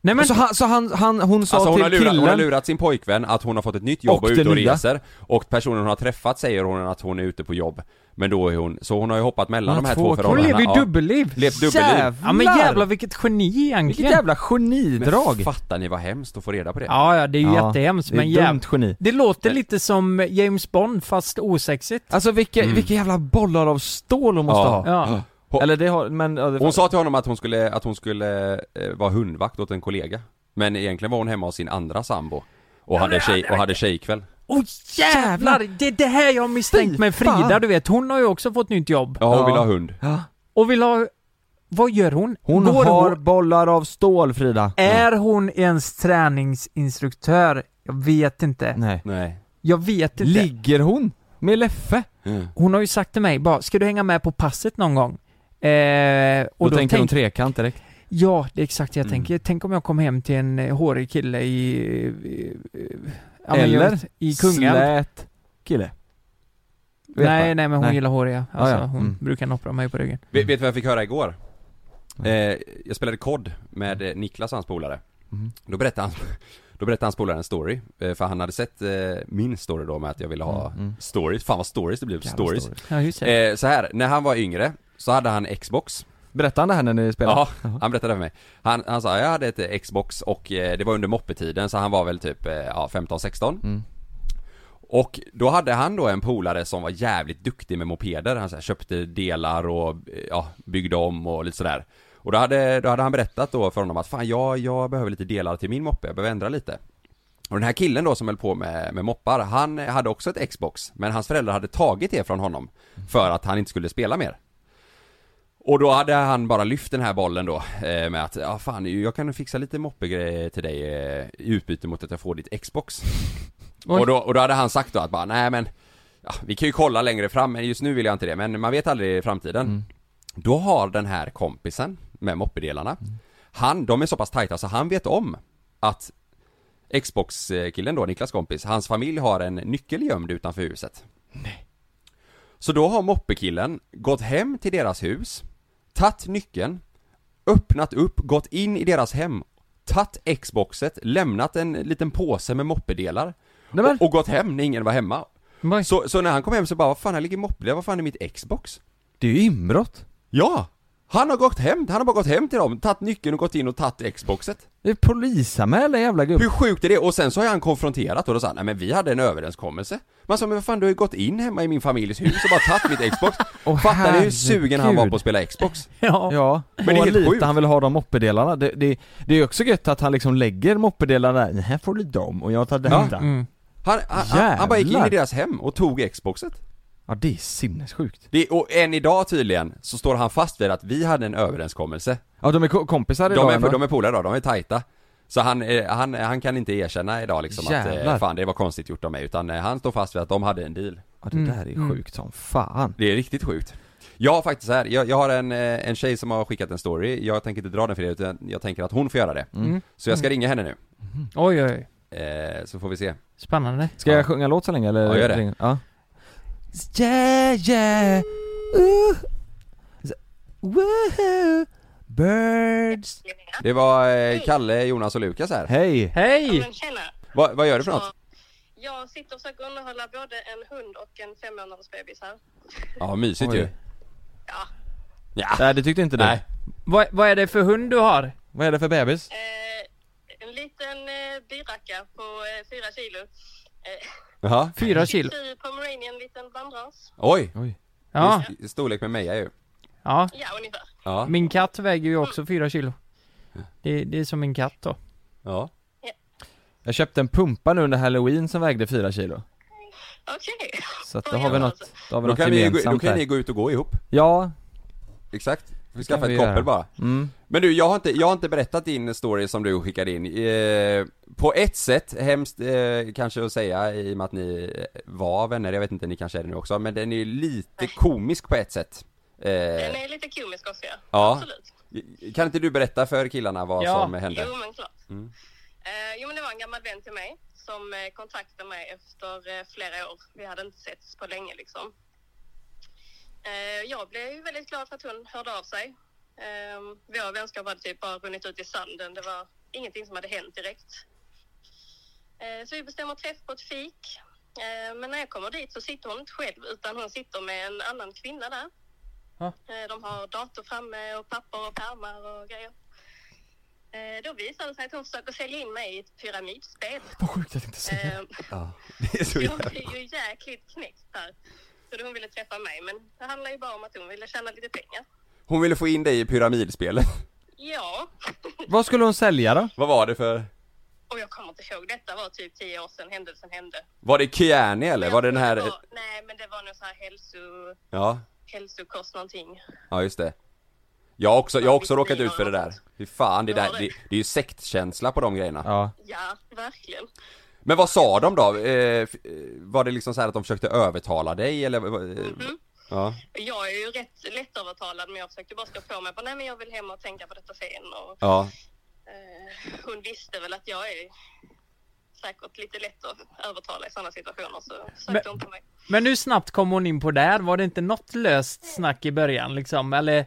Speaker 3: Nej men,
Speaker 2: Så, han, så han, han, hon sa
Speaker 1: Alltså hon
Speaker 2: till
Speaker 1: har, lurat,
Speaker 2: killen,
Speaker 1: hon har lurat sin pojkvän att hon har fått ett nytt jobb
Speaker 2: Och
Speaker 1: och, är ute
Speaker 2: det
Speaker 1: och
Speaker 2: nya.
Speaker 1: reser Och personen hon har träffat säger hon att hon är ute på jobb Men då är hon, så hon har ju hoppat mellan
Speaker 2: Hon
Speaker 1: de
Speaker 2: har
Speaker 1: här två,
Speaker 2: två killar.
Speaker 3: hon
Speaker 1: förhållandena
Speaker 3: lever ju
Speaker 1: Ja.
Speaker 3: dubbelliv.
Speaker 1: Levt dubbelliv
Speaker 2: Jävlar.
Speaker 3: Ja men jävlar vilket geni
Speaker 2: vilket
Speaker 3: egentligen.
Speaker 2: jävla genidrag!
Speaker 1: Men fattar ni vad hemskt att få reda på det?
Speaker 3: Ja ja, det är ju
Speaker 2: Ja,
Speaker 3: jättehemskt
Speaker 2: det är
Speaker 3: men
Speaker 2: dumt
Speaker 3: jävligt.
Speaker 2: geni.
Speaker 3: Det låter lite som James Bond fast osexigt.
Speaker 2: Alltså vilka, vilka jävla bollar av stål hon måste
Speaker 1: Mm. Ja.
Speaker 2: ha.
Speaker 3: Ja.
Speaker 1: Hon-
Speaker 2: Eller det har, men... ja, det-
Speaker 1: Hon sa till honom att hon skulle, att hon skulle eh, vara hundvakt åt en kollega Men egentligen var hon hemma hos sin andra sambo Och hade, tjej, och hade tjejkväll
Speaker 3: Åh jävlar! Det är det här jag har misstänkt
Speaker 2: Fy
Speaker 3: med Frida,
Speaker 2: fan.
Speaker 3: du vet, hon har ju också fått nytt jobb.
Speaker 1: Ja, hon vill ha hund.
Speaker 3: Och vill ha... Vad gör hon?
Speaker 2: Hon
Speaker 3: Går
Speaker 2: har bollar av stål Frida.
Speaker 3: Är hon ens träningsinstruktör? Jag vet inte.
Speaker 2: Nej.
Speaker 1: Nej.
Speaker 3: Jag vet inte.
Speaker 2: Ligger hon? Med Leffe?
Speaker 3: Hon har ju sagt till mig bara, ska du hänga med på passet någon gång? Eh, och
Speaker 2: Då
Speaker 3: då,
Speaker 2: tänker hon
Speaker 3: tänk,
Speaker 2: trekant direkt.
Speaker 3: Ja, det är exakt
Speaker 2: Mm.
Speaker 3: det jag tänker. Tänk om jag kom hem till en eh, hårig kille i... i- i- ja, men jag
Speaker 2: Eller
Speaker 3: vet, I Kungälv.
Speaker 2: Slät kille. Vet
Speaker 3: Nej,
Speaker 2: man.
Speaker 3: nej men hon
Speaker 2: Nej.
Speaker 3: gillar håriga. Alltså,
Speaker 2: Ah, ja.
Speaker 3: hon
Speaker 2: Mm.
Speaker 3: brukar noppra mig på ryggen.
Speaker 1: Vet, vet du vad jag fick höra igår? Eh, jag spelade kod med eh, Niklas, hans polare. Då berättade han då berättade hans polare en story, eh, för han hade sett eh, min story då med att jag ville ha
Speaker 2: Mm.
Speaker 1: stories, fan vad stories det blev, Mm, stories.
Speaker 3: Ja, just det.
Speaker 1: Eh, så här, när han var yngre så hade han Xbox
Speaker 2: Berätta han det här när ni spelar?
Speaker 1: Ja, han berättade för mig. Han, han sa, jag hade ett eh, Xbox och eh, det var under moppetiden så han var väl typ, eh, ja 15-16. Och då hade han då en polare som var jävligt duktig med mopeder, han så här, köpte delar och eh, ja, byggde om och lite sådär. Och då hade, då hade han berättat då för honom att fan jag, jag behöver lite delar till min moppe, jag behöver ändra lite. Och den här killen då som höll på med, med moppar, han hade också ett Xbox, men hans föräldrar hade tagit det från honom för att han inte skulle spela mer. Och då hade han bara lyft den här bollen då eh, med att ja fan jag kan fixa lite moppegrejer till dig eh, i utbyte mot att jag får ditt Xbox.
Speaker 3: Oj.
Speaker 1: Och då, och då hade han sagt då att bara nej men ja, vi kan ju kolla längre fram men just nu vill jag inte det men man vet aldrig i framtiden. Då har den här kompisen med moppedelarna, han, de är så pass tajta så han vet om att Xbox-killen då, Niklas kompis, hans familj har en nyckel gömd utanför huset. Så då har moppekillen gått hem till deras hus, tagit nyckeln, öppnat upp, gått in i deras hem, tagit Xboxet, lämnat en liten påse med moppedelar
Speaker 2: men-
Speaker 1: och, och gått hem när ingen var hemma.
Speaker 3: Oj.
Speaker 1: Så, så när han kom hem så bara, vad fan här ligger moppedelar, vad fan är mitt Xbox?
Speaker 2: Det är ju inbrott.
Speaker 1: Ja! Han har gått hem, han har bara gått hem till dem, tagit nyckeln och gått in och tagit Xboxet.
Speaker 2: Det är polisanmälan jävla gubbe.
Speaker 1: Hur sjukt är det? Och sen så har han konfronterat och då sa han, nej men vi hade en överenskommelse. Man sa, men vad fan du har ju gått in hemma i min familjs hus och bara tagit mitt Xbox.
Speaker 2: Åh,
Speaker 1: Fattar ni hur sugen han var
Speaker 2: herregud.
Speaker 1: på att spela Xbox?
Speaker 3: Ja.
Speaker 2: Ja, men det är helt lite
Speaker 1: sjukt.
Speaker 2: han vill ha de moppedelarna. Det, det, det är också gött att han liksom lägger moppedelarna där, här får du dem och jag tar detta. Ja,
Speaker 3: Mm.
Speaker 1: Han, han, han, han bara gick in i
Speaker 2: Jävlar.
Speaker 1: deras hem och tog Xboxet.
Speaker 2: det är sinnessjukt.
Speaker 1: Det, och än idag tydligen så står han fast vid att vi hade en överenskommelse.
Speaker 2: Ja de är ko- kompisar idag
Speaker 1: De är,
Speaker 2: ändå.
Speaker 1: de är polare idag, de är tajta. Så han, eh, han, han kan inte erkänna idag liksom att eh,
Speaker 2: Jävlar.
Speaker 1: fan det var konstigt gjort av mig utan eh, han står fast vid att de hade en deal.
Speaker 2: Ja det där
Speaker 1: Mm.
Speaker 2: är sjukt som fan.
Speaker 1: Det är riktigt sjukt. Jag har faktiskt så här, jag, jag har en, eh, en tjej som har skickat en story, jag tänker inte dra den för er utan jag tänker att hon får göra det.
Speaker 2: Mm.
Speaker 1: Så jag ska ringa henne nu,
Speaker 3: Mm. Oj, oj, oj.
Speaker 1: eh, så får vi se.
Speaker 3: Spännande.
Speaker 2: Ska jag sjunga en låt så länge eller?
Speaker 1: Ja, gör det.
Speaker 2: ringa? Ja. Yeah yeah, ooh, woohoo, birds.
Speaker 1: Det var eh, Kalle, Jonas och Lukas här.
Speaker 2: Hej!
Speaker 3: Hej!
Speaker 10: Tjena!
Speaker 1: Va, vad gör du för något?
Speaker 10: Jag sitter och försöker underhålla både en hund och en fem månaders bebis här.
Speaker 1: Ja, mysigt
Speaker 2: Oj.
Speaker 1: ju.
Speaker 2: Nej det tyckte inte du.
Speaker 1: Nej.
Speaker 3: Vad, vad är det för hund du har?
Speaker 2: Vad är det för bebis?
Speaker 10: Eh, en liten eh, biracka på eh, fyra kilo. Eh,
Speaker 1: Jaha.
Speaker 3: Fyra kilo?
Speaker 10: Fy pomeranian, liten bandras.
Speaker 1: Oj!
Speaker 3: Ja,
Speaker 1: I Storlek med Meja ju.
Speaker 3: ja.
Speaker 10: Ja, ungefär.
Speaker 2: Mm.
Speaker 1: Ja.
Speaker 3: Min katt väger ju också fyra kilo. Det, det är som en katt då.
Speaker 1: ja.
Speaker 2: Jag köpte en pumpa nu under halloween som vägde fyra kilo.
Speaker 10: Okej.
Speaker 2: Så att då har vi något, då har vi
Speaker 1: Då
Speaker 2: något
Speaker 1: kan, ni, gå-
Speaker 2: gemensamt
Speaker 1: då kan
Speaker 2: där.
Speaker 1: ni gå ut och gå ihop.
Speaker 2: Ja,
Speaker 1: Exakt. Vi
Speaker 2: kan
Speaker 1: skaffar
Speaker 2: vi
Speaker 1: ett
Speaker 2: göra.
Speaker 1: koppel bara.
Speaker 2: mm.
Speaker 1: Men du, jag har inte, jag har inte berättat din story som du skickade in. Eh, på ett sätt, hemskt eh, kanske att säga i och med att ni eh, var vänner, jag vet inte, ni kanske är det nu också, men den är lite komisk på ett sätt.
Speaker 10: Den
Speaker 1: Eh,
Speaker 10: är lite komisk också, ja.
Speaker 1: Ja.
Speaker 10: Absolut.
Speaker 1: kan inte du berätta för killarna vad
Speaker 3: Ja.
Speaker 1: som hände?
Speaker 10: Jo, men klart. Eh, jo, men det var en gammal vän till mig som eh, kontaktade mig efter eh, flera år. Vi hade inte setts på länge liksom. Eh, jag blev ju väldigt glad för att hon hörde av sig. Eh, vår vänskap hade typ bara runnit ut i sanden. Det var ingenting som hade hänt direkt. Eh, så vi bestämmer träff på ett fik. Eh, men när jag kommer dit så sitter hon inte själv utan hon sitter med en annan kvinna där.
Speaker 3: Ja.
Speaker 10: Eh, de har dator framme och papper och pärmar och grejer. Eh, Då visade det sig att hon försöker sälja in mig i ett pyramidspel.
Speaker 2: Vad sjukt att inte säga.
Speaker 10: Eh,
Speaker 1: Det är så
Speaker 10: Jag
Speaker 1: jävla...
Speaker 10: blev ju jäkligt knäckt här. Så hon ville träffa mig, men det handlar ju bara om att hon ville tjäna lite pengar.
Speaker 1: Hon ville få in dig i pyramidspelet.
Speaker 10: Ja,
Speaker 2: Vad skulle hon sälja då?
Speaker 1: vad var det för...
Speaker 10: Och jag kommer inte ihåg, detta var typ 10 år sedan händelsen hände.
Speaker 1: Var det Kiani eller? Var det den
Speaker 10: Det
Speaker 1: här...
Speaker 10: var, nej, men det var någon sån här hälso,
Speaker 1: Ja,
Speaker 10: hälsokost någonting.
Speaker 1: ja just det Jag har också, jag har också råkat ut för det där Fy fan, det, där, det, det är ju sektkänsla på de grejerna
Speaker 2: Ja
Speaker 10: Ja, verkligen.
Speaker 1: Men vad sa de då? Eh, f- eh, var det liksom så här att de försökte övertala dig eller? vad- vad- eh, Ja,
Speaker 10: Jag är ju rätt lättövertalad, men jag försökte bara stå på mig. Bara, nej, men jag vill hem och tänka på detta sen. Och,
Speaker 1: ja,
Speaker 10: eh, hon visste väl att jag är säkert lite lätt att övertala i sådana situationer, så försökte
Speaker 3: Men-
Speaker 10: hon på mig.
Speaker 3: Men hur snabbt kom hon in på det här? Var det inte något löst snack i början liksom, eller?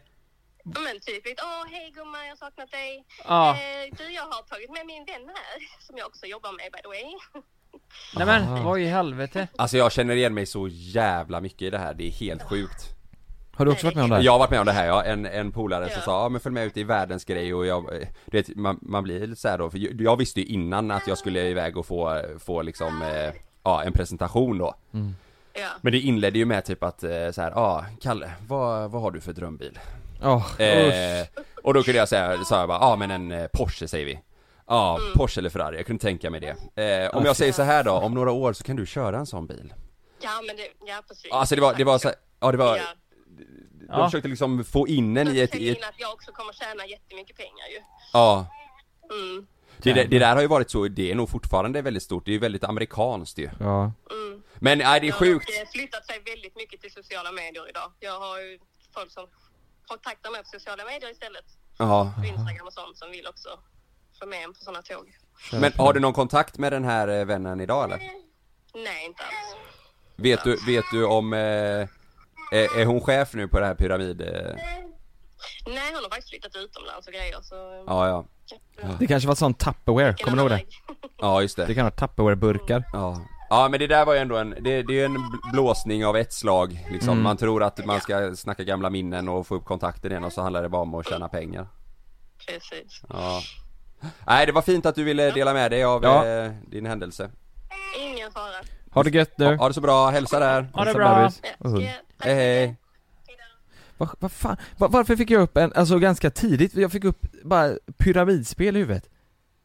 Speaker 10: Men typ lite, åh hej gumman, jag har saknat dig.
Speaker 3: Ja.
Speaker 10: Eh, du, jag har tagit med min vän här, som jag också jobbar med by the way.
Speaker 3: Nej
Speaker 2: Ah.
Speaker 3: men, vad i helvete?
Speaker 1: alltså jag känner igen mig så jävla mycket i det här, det är helt sjukt
Speaker 2: Har du också varit med om det här?
Speaker 1: Jag har varit med om det här ja, en, en polare som sa ja men följ med ut i världens grej och jag, eh, du vet, man, man blir lite så här då, för ju- jag visste ju innan att jag skulle iväg och få, få liksom, eh, ja en presentation då Men det inledde ju med typ att eh, så här, ja ah, Kalle, vad, vad har du för drömbil?
Speaker 2: Åh,
Speaker 1: Eh,
Speaker 2: usch.
Speaker 1: och då kunde jag säga, sa jag bara, ja ah, men en eh, Porsche säger vi Ja, Porsche eller Ferrari, jag kunde tänka mig det eh, Om jag säger så här då, om några år så kan du köra en sån bil
Speaker 10: Ja, men det, ja precis.
Speaker 1: Alltså det var, det var så, här- ja det var,
Speaker 10: Ja.
Speaker 1: de
Speaker 3: Ja.
Speaker 1: försökte liksom få in en i ett, i ett
Speaker 10: in att jag också kommer tjäna jättemycket pengar ju.
Speaker 1: ja
Speaker 10: Mm,
Speaker 1: det, det, det där har ju varit så, det är nog fortfarande väldigt stort, det är ju väldigt amerikanskt ju
Speaker 2: Ja,
Speaker 10: mm.
Speaker 1: Men nej det är sjukt
Speaker 10: Jag har dock, eh, flyttat sig väldigt mycket till sociala medier idag. Jag har ju folk som kontaktar mig på sociala medier istället.
Speaker 1: Ja,
Speaker 10: På Instagram och sånt som vill också få med en på sådana tåg.
Speaker 1: men har du någon kontakt med den här eh, vännen idag eller?
Speaker 10: Nej, inte alls.
Speaker 1: Vet du, vet du om, eh, är, är hon chef nu på det här pyramid? Eh,
Speaker 10: Nej, hon har faktiskt flyttat utomlands och grejer så...
Speaker 1: ja ja,
Speaker 2: det kanske var sån Tupperware, kommer du ihåg det?
Speaker 1: ja just det
Speaker 2: Det kan vara Tupperware-burkar
Speaker 1: Ja. ja, men det där var ju ändå en, det, det är ju en bl- blåsning av ett slag liksom.
Speaker 2: Mm.
Speaker 1: Man tror att man ska snacka gamla minnen och få upp kontakten igen och så handlar det bara om att tjäna pengar
Speaker 10: Precis.
Speaker 1: Ja Nej det var fint att du ville dela med dig av
Speaker 2: Ja.
Speaker 1: eh, din händelse
Speaker 10: Ingen fara.
Speaker 2: Ha det gött nu!
Speaker 1: Ha det så bra, hälsa där!
Speaker 3: Ha det
Speaker 2: Hälsa
Speaker 3: bra!
Speaker 2: Barbie.
Speaker 10: Ja,
Speaker 2: Och hund.
Speaker 10: ja, tack.
Speaker 1: Hej hej!
Speaker 2: Vad vad fan, Va- varför fick jag upp en, alltså ganska tidigt, jag fick upp bara pyramidspel i huvudet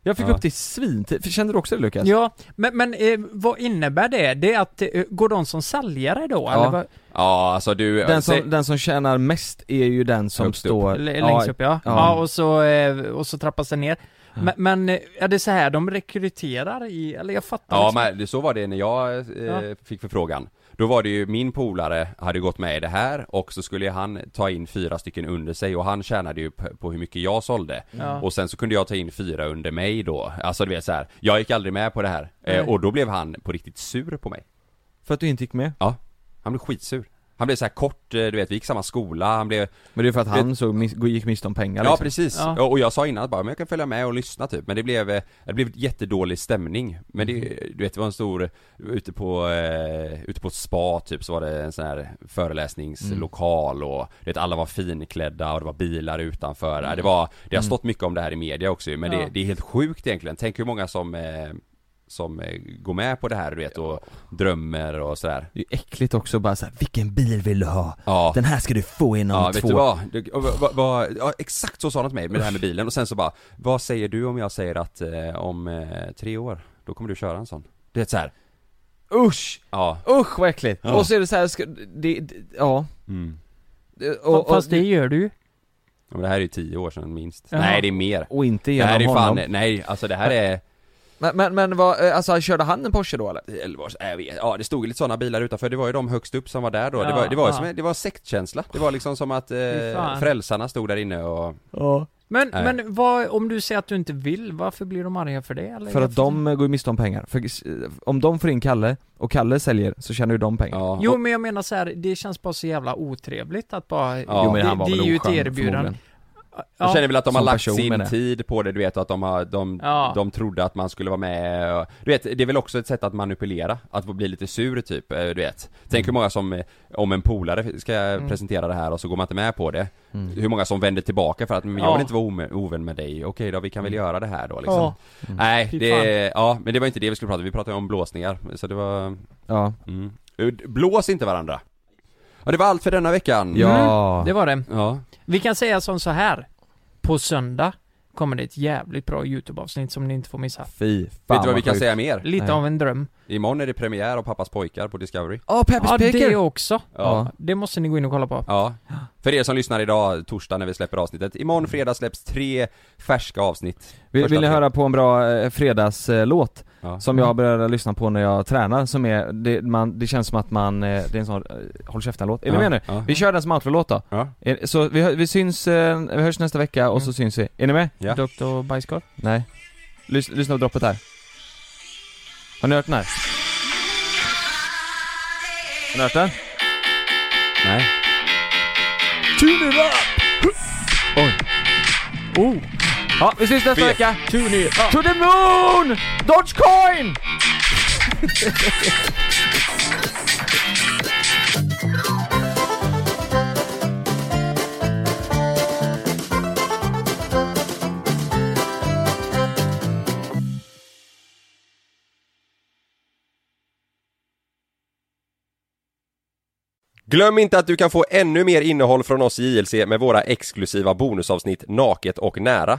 Speaker 2: Jag fick
Speaker 1: Ja.
Speaker 2: upp det svintid, kände du också det Lukas?
Speaker 3: Ja, men, men eh, vad innebär det? Det är att, eh, går de som säljare då? Eller, vad-
Speaker 1: Ja alltså du,
Speaker 2: Den
Speaker 1: se-
Speaker 2: som, den som tjänar mest är ju den som
Speaker 1: Högst upp.
Speaker 2: står
Speaker 3: eller längst upp ja.
Speaker 2: ja.
Speaker 3: Ja, och, så, eh, och så trappas det ner. Men, men eh, är det så här de rekryterar i, eller jag fattar
Speaker 1: Ja
Speaker 3: liksom.
Speaker 1: men det- så var det när jag eh,
Speaker 3: Ja.
Speaker 1: fick förfrågan Då var det ju min polare hade gått med i det här och så skulle han ta in fyra stycken under sig och han tjänade ju p- på hur mycket jag sålde
Speaker 3: Mm. Ja.
Speaker 1: Och sen så kunde jag ta in fyra under mig då Alltså du vet så här. jag gick aldrig med på det här
Speaker 3: Nej.
Speaker 1: eh, och då blev han på riktigt sur på mig
Speaker 2: För att du inte gick med?
Speaker 1: Ja, han blev skitsur Han blev så här kort, eh, du vet vi gick i samma skola, han blev
Speaker 2: Men det är för att han såg, mis- gick miste om pengar
Speaker 1: Ja
Speaker 2: liksom.
Speaker 1: precis,
Speaker 3: Ja.
Speaker 1: och och jag sa innan att bara, men jag kan följa med och lyssna typ Men det blev, eh, det blev jättedålig stämning Men det,
Speaker 3: Mm-hmm.
Speaker 1: du vet det var en stor, ute på, eh, ute på ett spa typ så var det en sån här föreläsningslokal och du vet alla var finklädda och det var bilar utanför Ja, Det var, det har stått mycket om det här i media också ju, men
Speaker 3: Mm. Ja.
Speaker 1: det, det är helt sjukt egentligen Tänk hur många som eh, som eh, går med på det här du vet och drömmer och sådär
Speaker 2: Det är ju äckligt också bara såhär, vilken bil vill du ha?
Speaker 1: Ja.
Speaker 2: Den här ska du få inom
Speaker 1: Ja,
Speaker 2: två
Speaker 1: vet du vad? Du, och vad- vad- vad- ja, exakt så sa de till mig med det här med bilen och sen så bara Vad säger du om jag säger att eh, om eh, tre år, då kommer du köra en sån? Det är så här.
Speaker 2: Usch!
Speaker 1: ja
Speaker 2: Usch vad äckligt!
Speaker 1: Ja.
Speaker 2: Och så är det såhär, ska, det, det, ja
Speaker 1: Mm.
Speaker 2: Det- Eh, och,
Speaker 3: Fast-
Speaker 2: och,
Speaker 3: Fast det gör du ju.
Speaker 1: Ja, men det här är ju tio år sedan minst
Speaker 3: Jaha.
Speaker 1: Nej det är mer
Speaker 2: och inte
Speaker 1: Det här är
Speaker 2: genom
Speaker 1: ju fan,
Speaker 2: honom
Speaker 1: nej alltså det här är
Speaker 2: Men, men, men vad, eh, alltså körde han en Porsche då eller?
Speaker 1: eller vad- jag vet, ja det stod ju lite sådana bilar utanför, det var ju de högst upp som var där då, det
Speaker 3: Ja,
Speaker 1: var, det var,
Speaker 3: ja.
Speaker 1: som, en- det var sektkänsla, det var liksom som att eh,
Speaker 3: Fy fan.
Speaker 1: frälsarna stod där inne och
Speaker 2: Ja
Speaker 3: Men,
Speaker 1: Nej.
Speaker 3: men vad, om du säger att du inte vill, varför blir de arga för det? Eller?
Speaker 2: För
Speaker 3: Jag
Speaker 2: att de eh, går ju miste om pengar, för eh, om de får in Kalle, och Kalle säljer, så tjänar ju de pengar
Speaker 1: ja,
Speaker 3: Jo men jag menar så här, det känns bara så jävla otrevligt att bara...
Speaker 1: Ja. Jo, men
Speaker 3: det, det är ju ett erbjudande.
Speaker 2: förmodligen.
Speaker 1: Jag känner väl att de har
Speaker 2: Som
Speaker 1: lagt
Speaker 2: person,
Speaker 1: sin
Speaker 2: menar jag.
Speaker 1: tid på det, du vet att de har, de,
Speaker 3: Ja.
Speaker 1: de trodde att man skulle vara med och, Du vet, det är väl också ett sätt att manipulera, att få bli lite sur typ, eh, du vet Tänk hur många som, eh, om en polare ska
Speaker 3: Mm.
Speaker 1: presentera det här och så går man inte med på det
Speaker 2: Mm.
Speaker 1: Hur många som vänder tillbaka för att, men jag
Speaker 3: Ja.
Speaker 1: vill inte vara ome- ovän med dig, okej då vi kan väl
Speaker 2: Mm.
Speaker 1: göra det här då liksom
Speaker 3: Ja. Mm.
Speaker 1: Nej,
Speaker 3: Fy
Speaker 1: det, ja men det var inte det vi skulle prata om, vi pratade om blåsningar, så det var,
Speaker 2: Ja,
Speaker 1: mm. Blås inte varandra! Ja det var allt för denna veckan
Speaker 2: ja.
Speaker 3: Det var det.
Speaker 1: Ja,
Speaker 3: Vi kan säga som så här. På söndag kommer det ett jävligt bra YouTube-avsnitt som ni inte får missa.
Speaker 1: Fy fan Vet du vad vi kan säga mer?
Speaker 3: Lite av en dröm.
Speaker 1: Imorgon är det premiär av Pappas pojkar på Discovery
Speaker 2: Ja, Peppers
Speaker 3: Ja,
Speaker 2: Picker!
Speaker 3: det också.
Speaker 1: Ja.
Speaker 3: Det måste ni gå in och kolla på.
Speaker 1: Ja, Mm. för er som lyssnar idag, torsdag när vi släpper avsnittet Imorgon fredag släpps tre färska avsnitt
Speaker 2: Vill,
Speaker 1: Första
Speaker 2: vill ni
Speaker 1: tre.
Speaker 2: höra på en bra eh, fredagslåt?
Speaker 1: Ja. Mm.
Speaker 2: Som jag började lyssna på när jag tränar som är, det, man, det känns som att man, eh, det är en sån eh, håll käften-låt. Är ni
Speaker 1: Ja,
Speaker 2: med nu?
Speaker 1: ja.
Speaker 2: Vi kör den som outro-låt då.
Speaker 1: Ja. Mm.
Speaker 2: Är- Så vi, hö- vi syns, eh, vi hörs nästa vecka och så syns vi. Är ni med?
Speaker 1: Ja.
Speaker 3: Dr. Bajskorv.
Speaker 2: Nej. Lys, lyssna på droppet här. Har ni hört den här? Har ni hört den?
Speaker 1: Nej
Speaker 2: Tune it up! Oj. Oh. Ja, vi syns nästa
Speaker 1: Fet.
Speaker 2: vecka!
Speaker 3: Tune in.
Speaker 2: To the moon! Dogecoin!
Speaker 1: Glöm inte att du kan få ännu mer innehåll från oss i JLC med våra exklusiva bonusavsnitt Naket och nära.